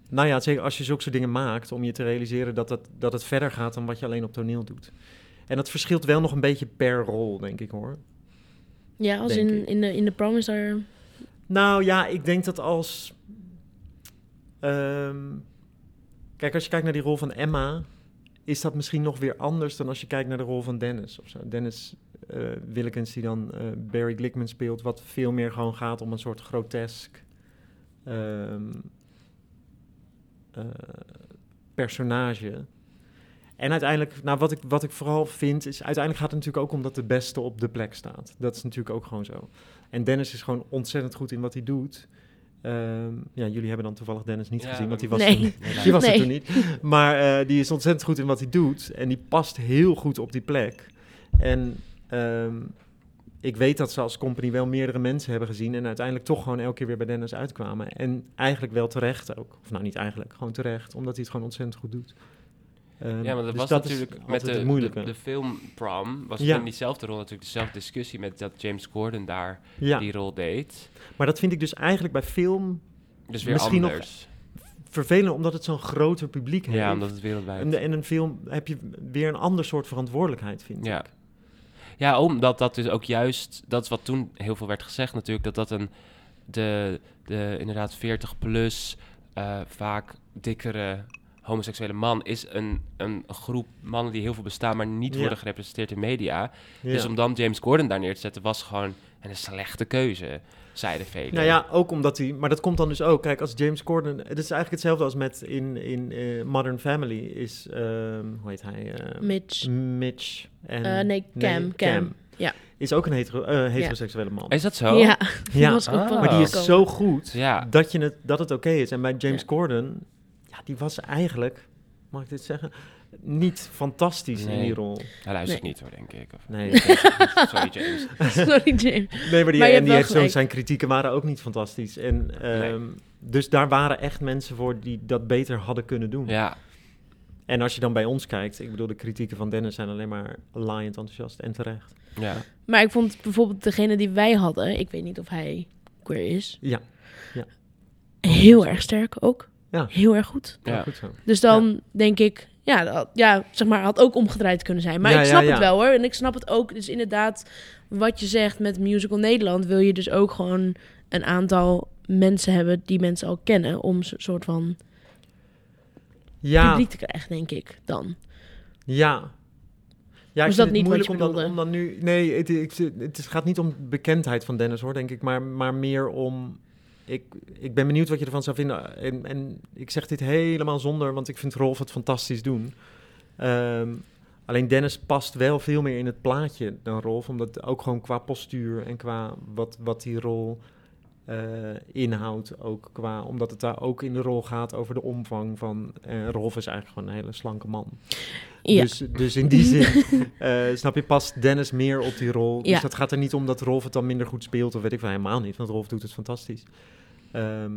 Speaker 3: Nou ja, zeker als je zulke soort dingen maakt, om je te realiseren dat het, dat het verder gaat dan wat je alleen op toneel doet. En dat verschilt wel nog een beetje per rol, denk ik hoor.
Speaker 1: Ja, als
Speaker 3: Denk
Speaker 1: in,
Speaker 3: ik.
Speaker 1: in, de, in de prom is daar...
Speaker 3: Nou ja, ik denk dat als. ehm, kijk, als je kijkt naar die rol van Emma, is dat misschien nog weer anders dan als je kijkt naar de rol van Dennis. Of zo. Dennis eh Willekens, die dan eh, Barry Glickman speelt, wat veel meer gewoon gaat om een soort grotesk ehm, eh, personage. En uiteindelijk, nou, wat, ik, wat ik vooral vind, is uiteindelijk gaat het natuurlijk ook om dat de beste op de plek staat. Dat is natuurlijk ook gewoon zo. En Dennis is gewoon ontzettend goed in wat hij doet. Ehm, ja, jullie hebben dan toevallig Dennis niet
Speaker 2: Ja,
Speaker 3: gezien, want die was,
Speaker 1: Nee.
Speaker 3: toen-
Speaker 2: Helaas.
Speaker 3: die was
Speaker 1: Nee.
Speaker 3: er toen niet. Maar eh, die is ontzettend goed in wat hij doet. En die past heel goed op die plek. En ehm, ik weet dat ze als company wel meerdere mensen hebben gezien. En uiteindelijk toch gewoon elke keer weer bij Dennis uitkwamen. En eigenlijk wel terecht ook. Of nou niet eigenlijk, gewoon terecht. Omdat hij het gewoon ontzettend goed doet. Ehm,
Speaker 2: Ja, maar dat
Speaker 3: dus
Speaker 2: was
Speaker 3: is
Speaker 2: natuurlijk met
Speaker 3: altijd
Speaker 2: de,
Speaker 3: het
Speaker 2: de,
Speaker 3: moeilijke.
Speaker 2: de film Prom, was
Speaker 3: Ja.
Speaker 2: in diezelfde rol natuurlijk dezelfde discussie met dat James Corden daar
Speaker 3: ja,
Speaker 2: die rol deed.
Speaker 3: maar dat vind ik dus eigenlijk bij film
Speaker 2: Dus weer
Speaker 3: Misschien nog-
Speaker 2: anders.
Speaker 3: vervelend. Omdat het zo'n groter publiek heeft.
Speaker 2: ja, omdat het
Speaker 3: en,
Speaker 2: wereldwijd...
Speaker 3: de- en een film heb je weer een ander soort verantwoordelijkheid, vind
Speaker 2: Ja.
Speaker 3: ik.
Speaker 2: ja, omdat dat dus ook juist... Dat is wat toen heel veel werd gezegd natuurlijk, dat dat een... De, de inderdaad 40-plus, vaak dikkere homoseksuele man is een, een groep mannen die heel veel bestaan, maar niet
Speaker 3: Ja.
Speaker 2: worden gerepresenteerd in media.
Speaker 3: Ja.
Speaker 2: Dus om dan James Corden daar neer te zetten was gewoon een slechte keuze, zeiden velen.
Speaker 3: Nou ja, ook omdat hij. Maar dat komt dan dus ook. Kijk, als James Corden. Het is eigenlijk hetzelfde als met in, in eh, Modern Family. Is. ehm, hoe heet hij? eh,
Speaker 1: Mitch.
Speaker 3: Mitch. En,
Speaker 1: Eh, nee, Cam, Cam. Ja.
Speaker 3: Is ook een hetero, eh, heteroseksuele man.
Speaker 2: Is dat zo?
Speaker 1: Ja,
Speaker 3: Ja,
Speaker 1: was ik ook
Speaker 2: Ah.
Speaker 1: van
Speaker 3: maar die is
Speaker 1: gekomen.
Speaker 3: zo goed
Speaker 2: Ja.
Speaker 3: dat, je het, dat het oké is. En bij James
Speaker 1: Ja.
Speaker 3: Corden. Ja, die was eigenlijk. mag ik dit zeggen? Niet fantastisch in
Speaker 2: Nee.
Speaker 3: die rol.
Speaker 2: Hij luistert
Speaker 1: Nee.
Speaker 2: niet hoor, denk Nou, ik. Of,
Speaker 3: Nee,
Speaker 2: sorry James.
Speaker 1: Sorry, James.
Speaker 3: nee maar die,
Speaker 1: Maar je hebt
Speaker 3: en die
Speaker 1: wel
Speaker 3: heeft zo,
Speaker 1: gelijk.
Speaker 3: zijn kritieken waren ook niet fantastisch. En, ehm, Dus daar waren echt mensen voor die dat beter hadden kunnen doen.
Speaker 2: Ja,
Speaker 3: En als je dan bij ons kijkt, ik bedoel, de kritieken van Dennis zijn alleen maar laaiend enthousiast en terecht.
Speaker 2: ja.
Speaker 1: Maar ik vond bijvoorbeeld degene die wij hadden, ik weet niet of hij queer is,
Speaker 3: Ja,
Speaker 1: heel erg sterk ook.
Speaker 3: Ja.
Speaker 1: Heel erg goed.
Speaker 3: ja.
Speaker 2: Ja.
Speaker 3: goed zo.
Speaker 1: Dus dan denk ik, ja, dat- ja, zeg maar, had ook omgedraaid kunnen zijn. Maar
Speaker 3: Ja,
Speaker 1: ik
Speaker 3: ja,
Speaker 1: snap het
Speaker 3: ja.
Speaker 1: wel hoor. En ik snap het ook. Dus inderdaad, wat je zegt met Musical Nederland, wil je dus ook gewoon een aantal mensen hebben die mensen al kennen. Om een soort van
Speaker 3: Ja,
Speaker 1: publiek te krijgen, denk ik dan.
Speaker 3: Ja. Ja,
Speaker 1: Of is
Speaker 3: ik
Speaker 1: dat
Speaker 3: vind het
Speaker 1: niet wat
Speaker 3: moeilijk
Speaker 1: je
Speaker 3: om dan,
Speaker 1: bedoelde?
Speaker 3: om dan nu... Nee, het, ik, het is- gaat niet om bekendheid van Dennis, hoor, denk ik. Maar, maar meer om... Ik, ik ben benieuwd wat je ervan zou vinden. En, en ik zeg dit helemaal zonder, want ik vind Rolf het fantastisch doen. Ehm, alleen Dennis past wel veel meer in het plaatje dan Rolf. Omdat ook gewoon qua postuur en qua wat, wat die rol eh, inhoudt. Ook qua, omdat het daar ook in de rol gaat over de omvang van... eh, Rolf is eigenlijk gewoon een hele slanke man.
Speaker 1: Ja.
Speaker 3: Dus, dus in die zin, eh, snap je, past Dennis meer op die rol.
Speaker 1: Ja.
Speaker 3: Dus dat gaat er niet om dat Rolf het dan minder goed speelt, of weet ik van helemaal niet, want Rolf doet het fantastisch. Ehm,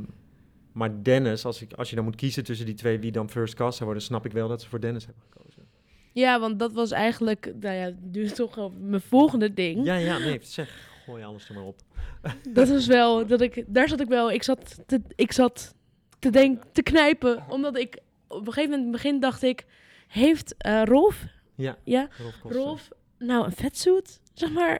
Speaker 3: maar Dennis, als, ik, als je dan moet kiezen tussen die twee wie dan first cast zou worden, snap ik wel dat ze voor Dennis hebben gekozen.
Speaker 1: ja, want dat was eigenlijk, nou ja, nu toch wel mijn volgende ding.
Speaker 3: Ja, ja, nee, zeg, gooi alles er maar op.
Speaker 1: Dat is wel dat ik daar zat ik wel. Ik zat te, ik zat te denken te knijpen omdat ik op een gegeven moment in het begin dacht ik heeft eh, Rolf
Speaker 3: Ja,
Speaker 1: ja
Speaker 3: Rolf Koster.
Speaker 1: Rolf nou een vetsuit zeg maar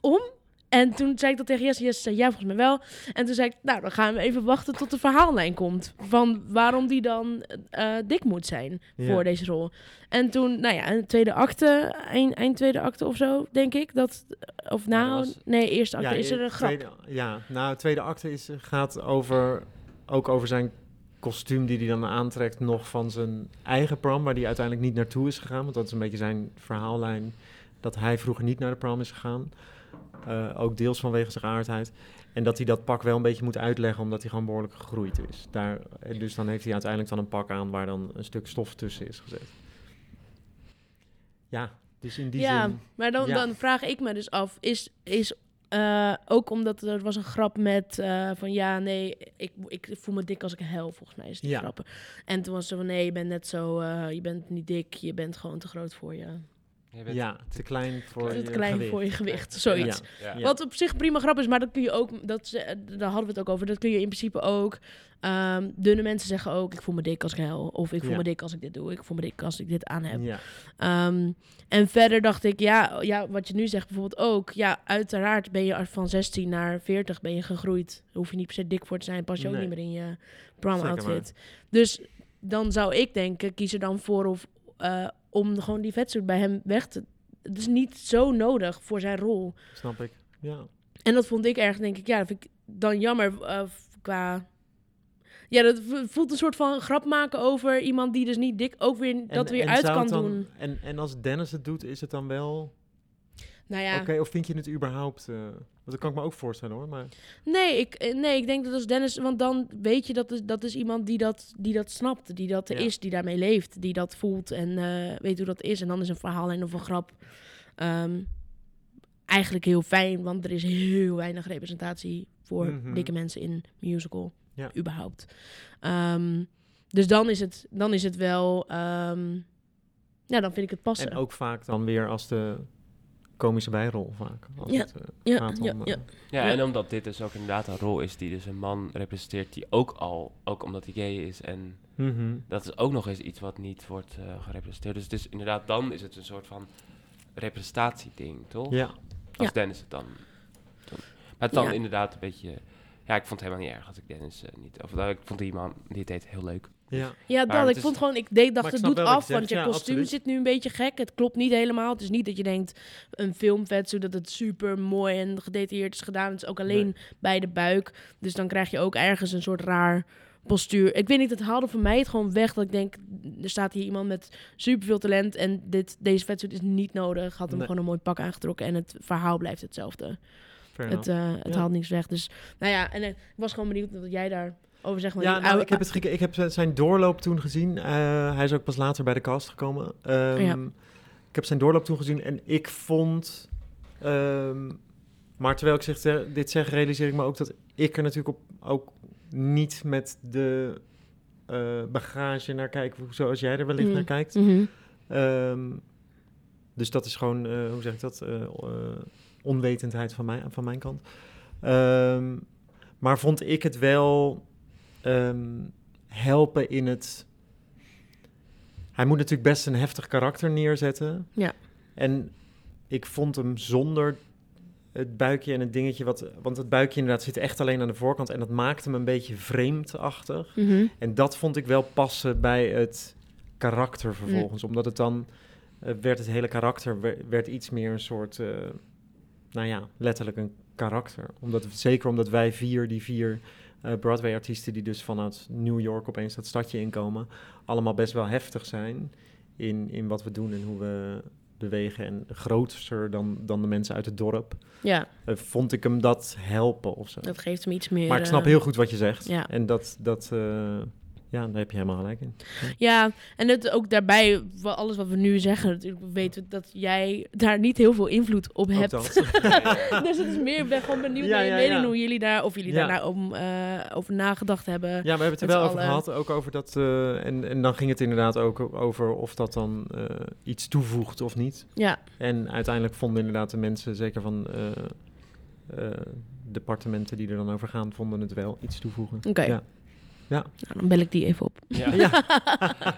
Speaker 1: om en toen zei ik dat tegen Jesse. Jesse zei ja, volgens mij wel. En toen zei ik, nou, dan gaan we even wachten tot de verhaallijn komt. Van waarom die dan eh, dik moet zijn
Speaker 3: Ja.
Speaker 1: voor deze rol. En toen, nou ja, in tweede acte, eind, eind tweede acte of zo, denk ik. Dat, of
Speaker 2: Ja, dat
Speaker 1: nou,
Speaker 2: was-
Speaker 1: nee, eerste acte is er een grap.
Speaker 3: tweede- ja, nou, het tweede acte is, gaat over, ook over zijn kostuum die hij dan aantrekt nog van zijn eigen prom, waar hij uiteindelijk niet naartoe is gegaan. Want dat is een beetje zijn verhaallijn, dat hij vroeger niet naar de prom is gegaan. Eh, ook deels vanwege zijn aardheid. En dat hij dat pak wel een beetje moet uitleggen, omdat hij gewoon behoorlijk gegroeid is. Daar, eh, dus dan heeft hij uiteindelijk dan een pak aan waar dan een stuk stof tussen is gezet. Ja, dus in die
Speaker 1: ja,
Speaker 3: zin...
Speaker 1: maar dan,
Speaker 3: ja.
Speaker 1: dan vraag ik me dus af, is, is eh, ook omdat er was een grap met eh, van ja, nee, ik, ik voel me dik als ik hel, volgens mij is die
Speaker 3: Ja.
Speaker 1: grappen. En toen was ze van nee, je bent net zo, eh, je bent niet dik, je bent gewoon te groot voor je.
Speaker 2: Jij bent-
Speaker 3: Ja, te klein voor
Speaker 1: Te
Speaker 3: je
Speaker 1: klein
Speaker 3: gewicht.
Speaker 1: voor je gewicht, zoiets.
Speaker 2: ja.
Speaker 3: Ja.
Speaker 1: Wat op zich een prima grap is, maar dat kun je ook, dat, ze- daar hadden we het ook over, dat kun je in principe ook. ehm, dunne mensen zeggen ook, ik voel me dik als ik hel, of ik voel
Speaker 3: Ja.
Speaker 1: me dik als ik dit doe, ik voel me dik als ik dit aan heb.
Speaker 3: Ja.
Speaker 1: Ehm, en verder dacht ik, ja, ja, wat je nu zegt bijvoorbeeld ook. Ja, uiteraard ben je van 16 naar 40 ben je gegroeid. Daar hoef je niet per se dik voor te zijn. Pas je ook
Speaker 3: Nee.
Speaker 1: niet meer in je prom
Speaker 3: Zeker
Speaker 1: outfit. Dus dan zou ik denken, kies er dan voor of, eh, om gewoon die vetsuit bij hem weg te... Het is niet zo nodig voor zijn rol.
Speaker 3: Snap ik. Ja.
Speaker 1: En dat vond ik erg, denk ik, ja, dat vind ik dan jammer eh, qua... Ja, dat v- voelt een soort van grap maken over iemand die dus niet dik ook weer dat weer uit
Speaker 3: zou
Speaker 1: kan
Speaker 3: het dan-
Speaker 1: doen.
Speaker 3: En, en als Dennis het doet, is het dan wel
Speaker 1: Nou ja.
Speaker 3: oké? of vind je het überhaupt... eh, want dat kan ik me ook voorstellen hoor, maar...
Speaker 1: Nee, ik, eh, nee, ik denk dat als Dennis... Want dan weet je dat is, dat is iemand die dat, die dat snapt. Die dat er
Speaker 3: Ja.
Speaker 1: is, die daarmee leeft. Die dat voelt en eh, weet hoe dat is. En dan is een verhaal en of een grap ehm, eigenlijk heel fijn. Want er is heel weinig representatie voor
Speaker 3: Mhm.
Speaker 1: dikke mensen in musical.
Speaker 3: Ja.
Speaker 1: Überhaupt. Ehm, dus dan is het, dan is het wel... ehm, ja, dan vind ik het passen.
Speaker 3: En ook vaak dan weer als de komische bijrol vaak. Als
Speaker 1: Ja.
Speaker 3: het eh,
Speaker 1: ja,
Speaker 3: gaat
Speaker 1: ja,
Speaker 3: om... eh,
Speaker 1: ja.
Speaker 2: Ja,
Speaker 1: Ja.
Speaker 2: en omdat dit dus ook inderdaad een rol is die dus een man representeert die ook al, ook omdat hij gay is en
Speaker 3: mhm.
Speaker 2: dat is ook nog eens iets wat niet wordt eh, gerepresenteerd. Dus het is inderdaad, dan is het een soort van representatieding, toch?
Speaker 3: Ja.
Speaker 2: Als
Speaker 1: Ja.
Speaker 2: Dennis het dan doet. Maar het dan
Speaker 1: Ja.
Speaker 2: inderdaad een beetje, ja, ik vond het helemaal niet erg als ik Dennis eh, niet, of nou, ik vond die man, die het deed heel leuk.
Speaker 3: Ja.
Speaker 1: Ja,
Speaker 2: Maar
Speaker 1: dat.
Speaker 2: het
Speaker 1: Ik
Speaker 2: is-
Speaker 1: vond gewoon, ik deed,
Speaker 3: Maar
Speaker 1: dacht,
Speaker 3: ik
Speaker 1: het
Speaker 3: snap
Speaker 1: doet
Speaker 3: wel wat
Speaker 1: af,
Speaker 3: je
Speaker 1: want je
Speaker 3: zegt. Ja,
Speaker 1: kostuum
Speaker 3: absoluut.
Speaker 1: zit nu een beetje gek. Het klopt niet helemaal. Het is niet dat je denkt, een filmvet, zodat het super mooi en gedetailleerd is gedaan. Het is ook alleen bij de buik. Dus dan krijg je ook ergens een soort raar postuur. Ik weet niet, het haalde voor mij het gewoon weg. Dat ik denk, er staat hier iemand met superveel talent en dit, deze vetsuit is niet nodig. Had hem
Speaker 3: Nee.
Speaker 1: gewoon een mooi pak aangetrokken en het verhaal blijft hetzelfde.
Speaker 3: fair
Speaker 1: Het,
Speaker 3: enough.
Speaker 1: eh, het
Speaker 3: Ja.
Speaker 1: haalt niks weg. Dus nou ja, en eh, ik was gewoon benieuwd dat jij daar Over zeg maar
Speaker 3: Ja,
Speaker 1: die
Speaker 3: nou,
Speaker 1: oude-
Speaker 3: ik, heb het geke- ik heb zijn doorloop toen gezien. Eh, hij is ook pas later bij de cast gekomen. Ehm,
Speaker 1: Ja.
Speaker 3: Ik heb zijn doorloop toen gezien en ik vond... ehm, maar terwijl ik zeg, eh, dit zeg, realiseer ik me ook dat ik er natuurlijk op, ook niet met de eh, bagage naar kijk... zoals jij er wellicht
Speaker 1: Mm.
Speaker 3: naar kijkt.
Speaker 1: Mhm.
Speaker 3: Ehm, dus dat is gewoon, eh, hoe zeg ik dat, eh, eh, onwetendheid van mijn, van mijn kant. Ehm, maar vond ik het wel ehm, helpen in het... Hij moet natuurlijk best een heftig karakter neerzetten.
Speaker 1: Ja.
Speaker 3: En ik vond hem zonder het buikje en het dingetje... Wat, want het buikje inderdaad zit echt alleen aan de voorkant... en dat maakt hem een beetje vreemdachtig.
Speaker 1: Mhm.
Speaker 3: En dat vond ik wel passen bij het karakter vervolgens. Omdat het dan eh, werd het hele karakter wer- werd iets meer een soort, eh, nou ja, letterlijk een karakter. Omdat, zeker omdat wij vier, die vier eh, Broadway-artiesten die dus vanuit New York opeens dat stadje inkomen, allemaal best wel heftig zijn in, in wat we doen en hoe we bewegen. En groter dan, dan de mensen uit het dorp.
Speaker 1: Ja,
Speaker 3: eh, vond ik hem dat helpen of zo.
Speaker 1: dat geeft hem iets meer.
Speaker 3: Maar ik
Speaker 1: eh,
Speaker 3: snap heel goed wat je zegt.
Speaker 1: ja.
Speaker 3: En dat, dat eh, ja, daar heb je helemaal gelijk in.
Speaker 1: Ja, en het ook daarbij, wa- alles wat we nu zeggen, natuurlijk weten we dat jij daar niet heel veel invloed op hebt. dus het is meer, ik ben gewoon benieuwd
Speaker 3: Ja,
Speaker 1: naar je
Speaker 3: ja,
Speaker 1: mening,
Speaker 3: ja.
Speaker 1: hoe jullie daar, of jullie
Speaker 3: Ja.
Speaker 1: daarna om, eh, over nagedacht hebben.
Speaker 3: Ja, we hebben het er
Speaker 1: Met
Speaker 3: wel
Speaker 1: z'n
Speaker 3: over
Speaker 1: allen.
Speaker 3: gehad. Ook over dat. eh, en, en dan ging het inderdaad ook over of dat dan eh, iets toevoegt of niet.
Speaker 1: Ja,
Speaker 3: En uiteindelijk vonden inderdaad de mensen, zeker van eh, eh, departementen die er dan over gaan, vonden het wel iets toevoegen.
Speaker 1: Oké.
Speaker 3: Ja.
Speaker 1: nou, dan bel ik die even op.
Speaker 2: Ja.
Speaker 3: Ja.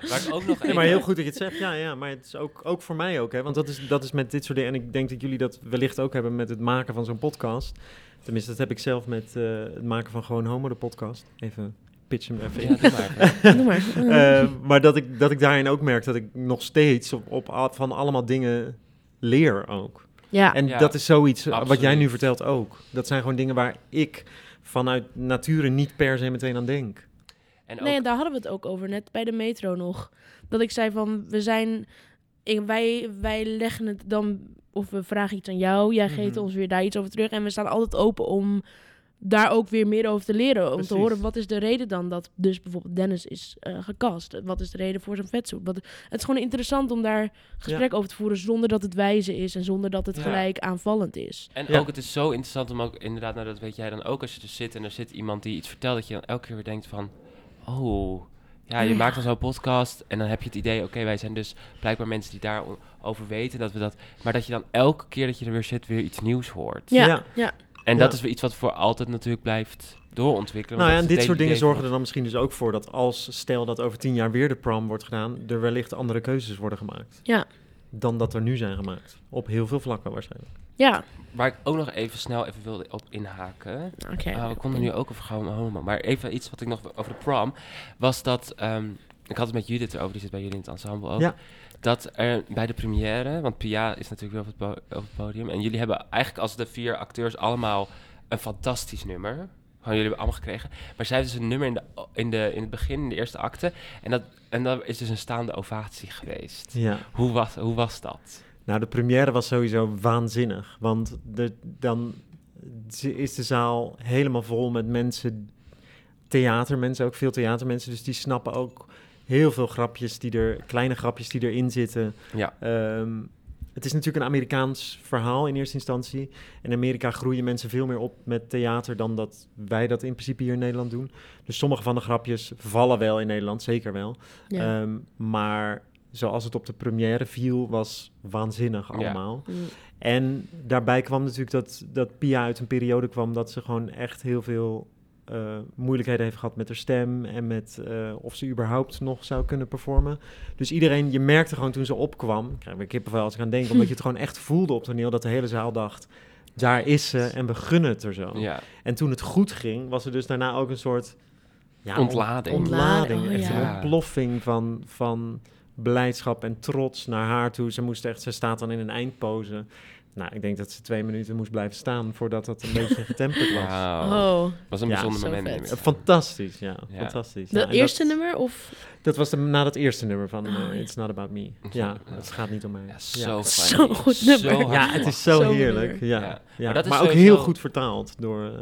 Speaker 2: Waar ik ook nog
Speaker 3: Nee,
Speaker 2: even-
Speaker 3: maar heel goed dat je het zegt. Ja, ja maar het is ook, ook voor mij ook. Hè? Want dat is, dat is met dit soort dingen. En ik denk dat jullie dat wellicht ook hebben met het maken van zo'n podcast. Tenminste, dat heb ik zelf met eh, het maken van Gewoon Homo, de podcast. Even pitch hem er even in.
Speaker 2: Ja, doe maar.
Speaker 1: Doe maar.
Speaker 3: Eh, maar dat ik, dat ik daarin ook merk dat ik nog steeds op, op, al- van allemaal dingen leer ook.
Speaker 1: ja,
Speaker 3: En
Speaker 2: Ja,
Speaker 3: dat is zoiets eh, wat jij nu
Speaker 2: absoluut.
Speaker 3: vertelt ook. Dat zijn gewoon dingen waar ik vanuit nature niet per se meteen aan denk.
Speaker 2: En
Speaker 1: nee,
Speaker 2: ook-
Speaker 1: en daar hadden we het ook over, net bij de metro nog. Dat ik zei van, we zijn, ik- wij, wij leggen het dan, of we vragen iets aan jou, jij geeft
Speaker 3: Mhm.
Speaker 1: ons weer daar iets over terug. En we staan altijd open om daar ook weer meer over te leren. Om te
Speaker 3: Precies.
Speaker 1: horen, wat is de reden dan dat dus bijvoorbeeld Dennis is eh, gecast? Wat is de reden voor zijn vetsoet? Wat, het is gewoon interessant om daar gesprek over te voeren zonder dat het wijze is en zonder dat het
Speaker 2: Ja.
Speaker 1: gelijk aanvallend is.
Speaker 2: En
Speaker 3: Ja.
Speaker 2: ook, het is zo interessant om ook inderdaad, nou dat weet jij dan ook, als je er zit en er zit iemand die iets vertelt, dat je dan elke keer weer denkt van, oh, ja, je
Speaker 1: Ja.
Speaker 2: maakt dan zo'n podcast en dan heb je het idee, oké, wij zijn dus blijkbaar mensen die daarover weten, dat we dat, maar dat je dan elke keer dat je er weer zit, weer iets nieuws hoort.
Speaker 1: Ja, ja.
Speaker 3: Ja.
Speaker 2: En dat
Speaker 3: Ja.
Speaker 2: is weer iets wat voor altijd natuurlijk blijft doorontwikkelen.
Speaker 3: nou ja,
Speaker 2: want
Speaker 3: en
Speaker 2: dat is
Speaker 3: dit
Speaker 2: het
Speaker 3: soort
Speaker 2: hele
Speaker 3: dingen zorgen
Speaker 2: idee
Speaker 3: er dan misschien dus ook voor dat als stel dat over tien jaar weer de prom wordt gedaan, er wellicht andere keuzes worden gemaakt.
Speaker 1: Ja.
Speaker 3: Dan dat er nu zijn gemaakt. Op heel veel vlakken waarschijnlijk.
Speaker 2: van- Waar ik ook nog even snel even wilde op inhaken.
Speaker 1: oké.
Speaker 2: Oh, ik kom er nu ook over gauw homo. Maar even iets wat ik nog over de prom. Was dat. ehm, ik had het met Judith erover, die zit bij jullie in het ensemble ook.
Speaker 3: Ja.
Speaker 2: Dat er bij de première, want Pia is natuurlijk weer op het, po- op het podium. En jullie hebben eigenlijk als de vier acteurs allemaal een fantastisch nummer. Gewoon jullie hebben allemaal gekregen. Maar zij heeft dus een nummer in, de, in, de, in het begin, in de eerste acte. En dat, en dat is dus een staande ovatie geweest.
Speaker 3: Ja.
Speaker 2: Hoe was, hoe was dat?
Speaker 3: Nou, de première was sowieso waanzinnig. Want de, dan is de zaal helemaal vol met mensen, theatermensen, ook veel theatermensen. Dus die snappen ook heel veel grapjes die er, kleine grapjes die erin zitten.
Speaker 2: Ja.
Speaker 3: Ehm, het is natuurlijk een Amerikaans verhaal in eerste instantie. In Amerika groeien mensen veel meer op met theater dan dat wij dat in principe hier in Nederland doen. Dus sommige van de grapjes vallen wel in Nederland, zeker wel.
Speaker 1: Ja.
Speaker 3: Ehm, maar zoals het op de première viel, was waanzinnig allemaal.
Speaker 1: Mm.
Speaker 3: En daarbij kwam natuurlijk dat, dat Pia uit een periode kwam dat ze gewoon echt heel veel eh, moeilijkheden heeft gehad met haar stem en met eh, of ze überhaupt nog zou kunnen performen. Dus iedereen, je merkte gewoon toen ze opkwam, ik krijg weer kippenvel als ik aan denk, omdat je het gewoon echt voelde op toneel dat de hele zaal dacht, daar is ze en we gunnen het er zo.
Speaker 2: Ja.
Speaker 3: En toen het goed ging, was er dus daarna ook een soort ja, ont-
Speaker 2: Ontlading.
Speaker 3: ontlading.
Speaker 1: Ontlading,
Speaker 3: echt
Speaker 1: oh
Speaker 2: ja.
Speaker 3: een ontploffing van, van blijdschap en trots naar haar toe. Ze moest echt, ze staat dan in een eindpose. Nou, ik denk dat ze twee minuten moest blijven staan voordat dat een beetje getemperd was.
Speaker 2: Wauw.
Speaker 1: Oh.
Speaker 2: Was een
Speaker 3: Ja,
Speaker 2: bijzonder
Speaker 1: zo
Speaker 2: moment.
Speaker 1: vet.
Speaker 2: inmiddels.
Speaker 3: Fantastisch, ja.
Speaker 2: Ja.
Speaker 3: Fantastisch. Ja,
Speaker 1: Dat
Speaker 3: en
Speaker 1: eerste
Speaker 3: dat,
Speaker 1: nummer of
Speaker 3: Dat was de, na dat eerste nummer van eh,
Speaker 1: Oh, ja.
Speaker 3: It's Not About Me. Ja,
Speaker 2: Ja.
Speaker 3: het gaat niet om mij.
Speaker 2: Ja, zo,
Speaker 1: Zo'n
Speaker 2: funny.
Speaker 1: goed
Speaker 2: Zo
Speaker 1: nummer.
Speaker 2: hard
Speaker 3: Ja, het is zo,
Speaker 1: Zo
Speaker 3: heerlijk.
Speaker 1: leuk.
Speaker 2: Ja.
Speaker 3: Ja. Ja.
Speaker 2: Maar
Speaker 3: Maar,
Speaker 2: dat is
Speaker 3: ook
Speaker 2: sowieso-
Speaker 3: heel goed vertaald door eh,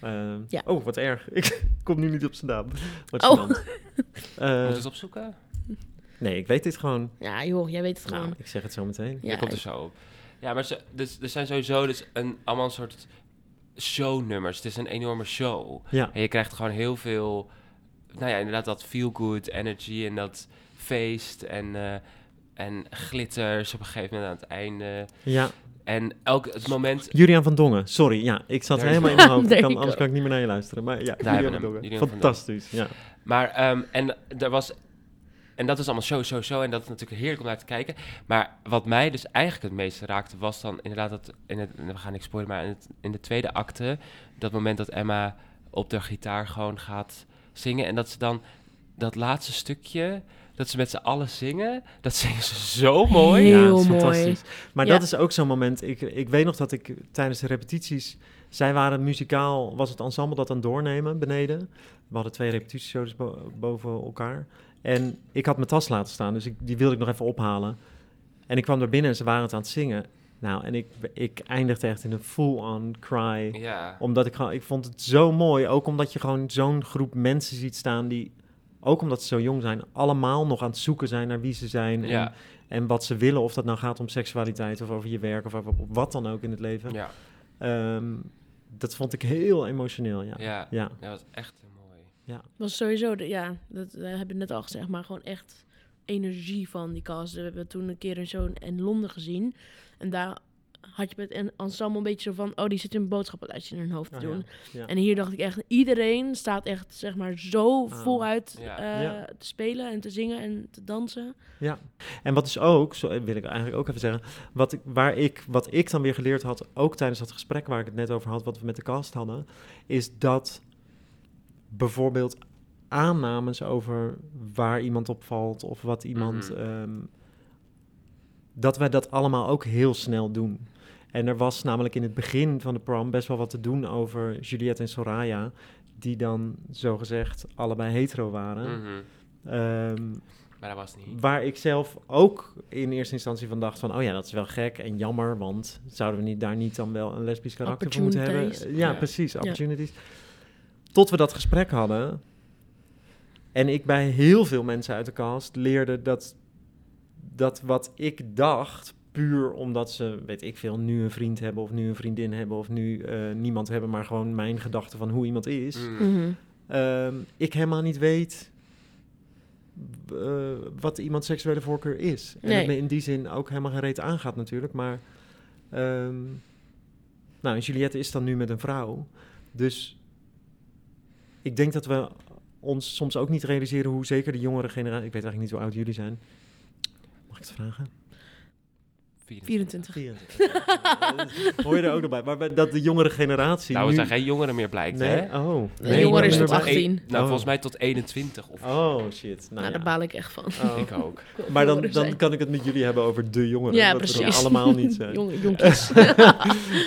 Speaker 3: Eh,
Speaker 1: Ja.
Speaker 3: Oh, wat erg. Ik kom nu niet op zijn naam. Wat
Speaker 1: Oh.
Speaker 3: gênant. Eh,
Speaker 2: Moet je het opzoeken?
Speaker 3: nee, ik weet dit gewoon.
Speaker 1: Ja, joh, jij weet het
Speaker 3: Nou,
Speaker 1: gewoon.
Speaker 3: ik zeg het zo meteen.
Speaker 2: Ja,
Speaker 1: Ja,
Speaker 2: komt er
Speaker 1: ik-
Speaker 2: zo op. Ja, maar ze, dus, er zijn sowieso dus een, allemaal een soort shownummers. Het is een enorme show.
Speaker 3: Ja.
Speaker 2: En je krijgt gewoon heel veel, nou ja, inderdaad dat feel-good energy en dat feest en, eh, en glitters op een gegeven moment aan het einde.
Speaker 3: ja.
Speaker 2: En elk het moment...
Speaker 3: Julian van Dongen, sorry. Ja, ik zat
Speaker 2: Daar is
Speaker 3: helemaal in
Speaker 2: hij.
Speaker 3: mijn hoofd. Ik
Speaker 1: There
Speaker 3: kan,
Speaker 1: you
Speaker 3: anders
Speaker 1: go.
Speaker 3: kan ik niet meer naar je luisteren. Maar ja,
Speaker 2: hebben we hem.
Speaker 3: Julian van Dongen.
Speaker 2: Julian van Dongen.
Speaker 3: Fantastisch, ja.
Speaker 2: Maar, ehm, en er was... En dat is allemaal show, show, show. En dat is natuurlijk heerlijk om naar te kijken. Maar wat mij dus eigenlijk het meeste raakte, was dan inderdaad dat... In het, we gaan niks spoilen, maar in, het- in de tweede acte... Dat moment dat Emma op de gitaar gewoon gaat zingen. En dat ze dan dat laatste stukje... Dat ze met z'n allen zingen. Dat zingen ze zo mooi.
Speaker 3: ja,
Speaker 1: Heel
Speaker 3: het is
Speaker 1: mooi.
Speaker 3: fantastisch. Maar
Speaker 1: Ja.
Speaker 3: dat is ook zo'n moment. Ik, ik weet nog dat ik tijdens de repetities. Zij waren muzikaal, was het ensemble dat aan het doornemen beneden. We hadden twee repetitieshows bo- boven elkaar. En ik had mijn tas laten staan, dus ik, die wilde ik nog even ophalen. En ik kwam daar binnen en ze waren het aan het zingen. Nou, en ik, ik eindigde echt in een full-on cry
Speaker 2: Ja.
Speaker 3: omdat ik gewoon, ik vond het zo mooi. Ook omdat je gewoon zo'n groep mensen ziet staan die, ook omdat ze zo jong zijn, allemaal nog aan het zoeken zijn naar wie ze zijn. En,
Speaker 2: Ja.
Speaker 3: en wat ze willen. Of dat nou gaat om seksualiteit of over je werk of over wat dan ook in het leven.
Speaker 2: Ja.
Speaker 3: Ehm, dat vond ik heel emotioneel. Ja.
Speaker 2: Ja.
Speaker 3: ja.
Speaker 2: Dat was echt heel mooi.
Speaker 1: was sowieso, de- ja, dat eh, heb ik net al gezegd, maar gewoon echt energie van die cast. We hebben toen een keer een zo'n in Londen gezien. En daar had je met een ensemble een beetje zo van, oh, die zit een boodschappenlijstje in hun hoofd te
Speaker 3: Ah,
Speaker 1: doen.
Speaker 3: ja. Ja.
Speaker 1: En hier dacht ik echt, iedereen staat echt, zeg maar, zo
Speaker 3: Ah,
Speaker 1: voluit
Speaker 2: ja.
Speaker 1: eh,
Speaker 3: Ja.
Speaker 1: te spelen en te zingen en te dansen.
Speaker 3: En wat is ook, zo eh, wil ik eigenlijk ook even zeggen, wat ik, waar ik, wat ik dan weer geleerd had, ook tijdens dat gesprek waar ik het net over had, wat we met de cast hadden, is dat bijvoorbeeld aannames over waar iemand opvalt of wat iemand,
Speaker 2: Mhm.
Speaker 3: ehm, dat wij dat allemaal ook heel snel doen. En er was namelijk in het begin van de prom best wel wat te doen over Juliette en Soraya, die dan zogezegd allebei hetero waren.
Speaker 2: Mhm.
Speaker 3: Ehm,
Speaker 2: Maar dat was niet.
Speaker 3: Waar ik zelf ook in eerste instantie van dacht van... oh ja, dat is wel gek en jammer... want zouden we niet, daar niet dan wel een lesbisch karakter voor moeten hebben?
Speaker 1: Opportunities.
Speaker 3: Ja,
Speaker 2: Ja.
Speaker 3: precies, opportunities. Tot we dat gesprek hadden... en ik bij heel veel mensen uit de cast leerde dat... dat wat ik dacht, puur omdat ze, weet ik veel... nu een vriend hebben of nu een vriendin hebben... of nu eh, niemand hebben, maar gewoon mijn gedachte van hoe iemand is...
Speaker 2: Mm.
Speaker 3: Ehm, ik helemaal niet weet b- eh, wat iemand seksuele voorkeur is. En
Speaker 1: Nee.
Speaker 3: het me in die zin ook helemaal geen reet aangaat natuurlijk. Maar ehm, nou, en Juliette is dan nu met een vrouw. Dus ik denk dat we ons soms ook niet realiseren hoe zeker de jongere generatie... Ik weet eigenlijk niet hoe oud jullie zijn. Mag ik het vragen?
Speaker 1: 24.
Speaker 3: Hoor je er ook nog bij? Maar bij- dat de jongere generatie
Speaker 2: Nou, we
Speaker 3: nu...
Speaker 2: zijn geen jongeren meer blijkt,
Speaker 3: Nee?
Speaker 2: hè?
Speaker 3: Oh.
Speaker 1: De jongere is tot
Speaker 3: dan ben je
Speaker 2: tot
Speaker 3: bij-
Speaker 1: 18.
Speaker 2: een- nou,
Speaker 3: Oh.
Speaker 2: volgens mij tot 21 of
Speaker 3: Oh, shit. Nou,
Speaker 1: nou, daar
Speaker 3: ja.
Speaker 1: baal ik echt van.
Speaker 3: Oh.
Speaker 2: ik ook.
Speaker 3: Maar dan,
Speaker 1: Jongeren
Speaker 3: dan
Speaker 1: zijn-
Speaker 3: kan ik het met jullie hebben over de jongeren.
Speaker 1: Ja,
Speaker 3: dat we er
Speaker 1: precies.
Speaker 3: allemaal niet zijn.
Speaker 1: Jong, jonkies.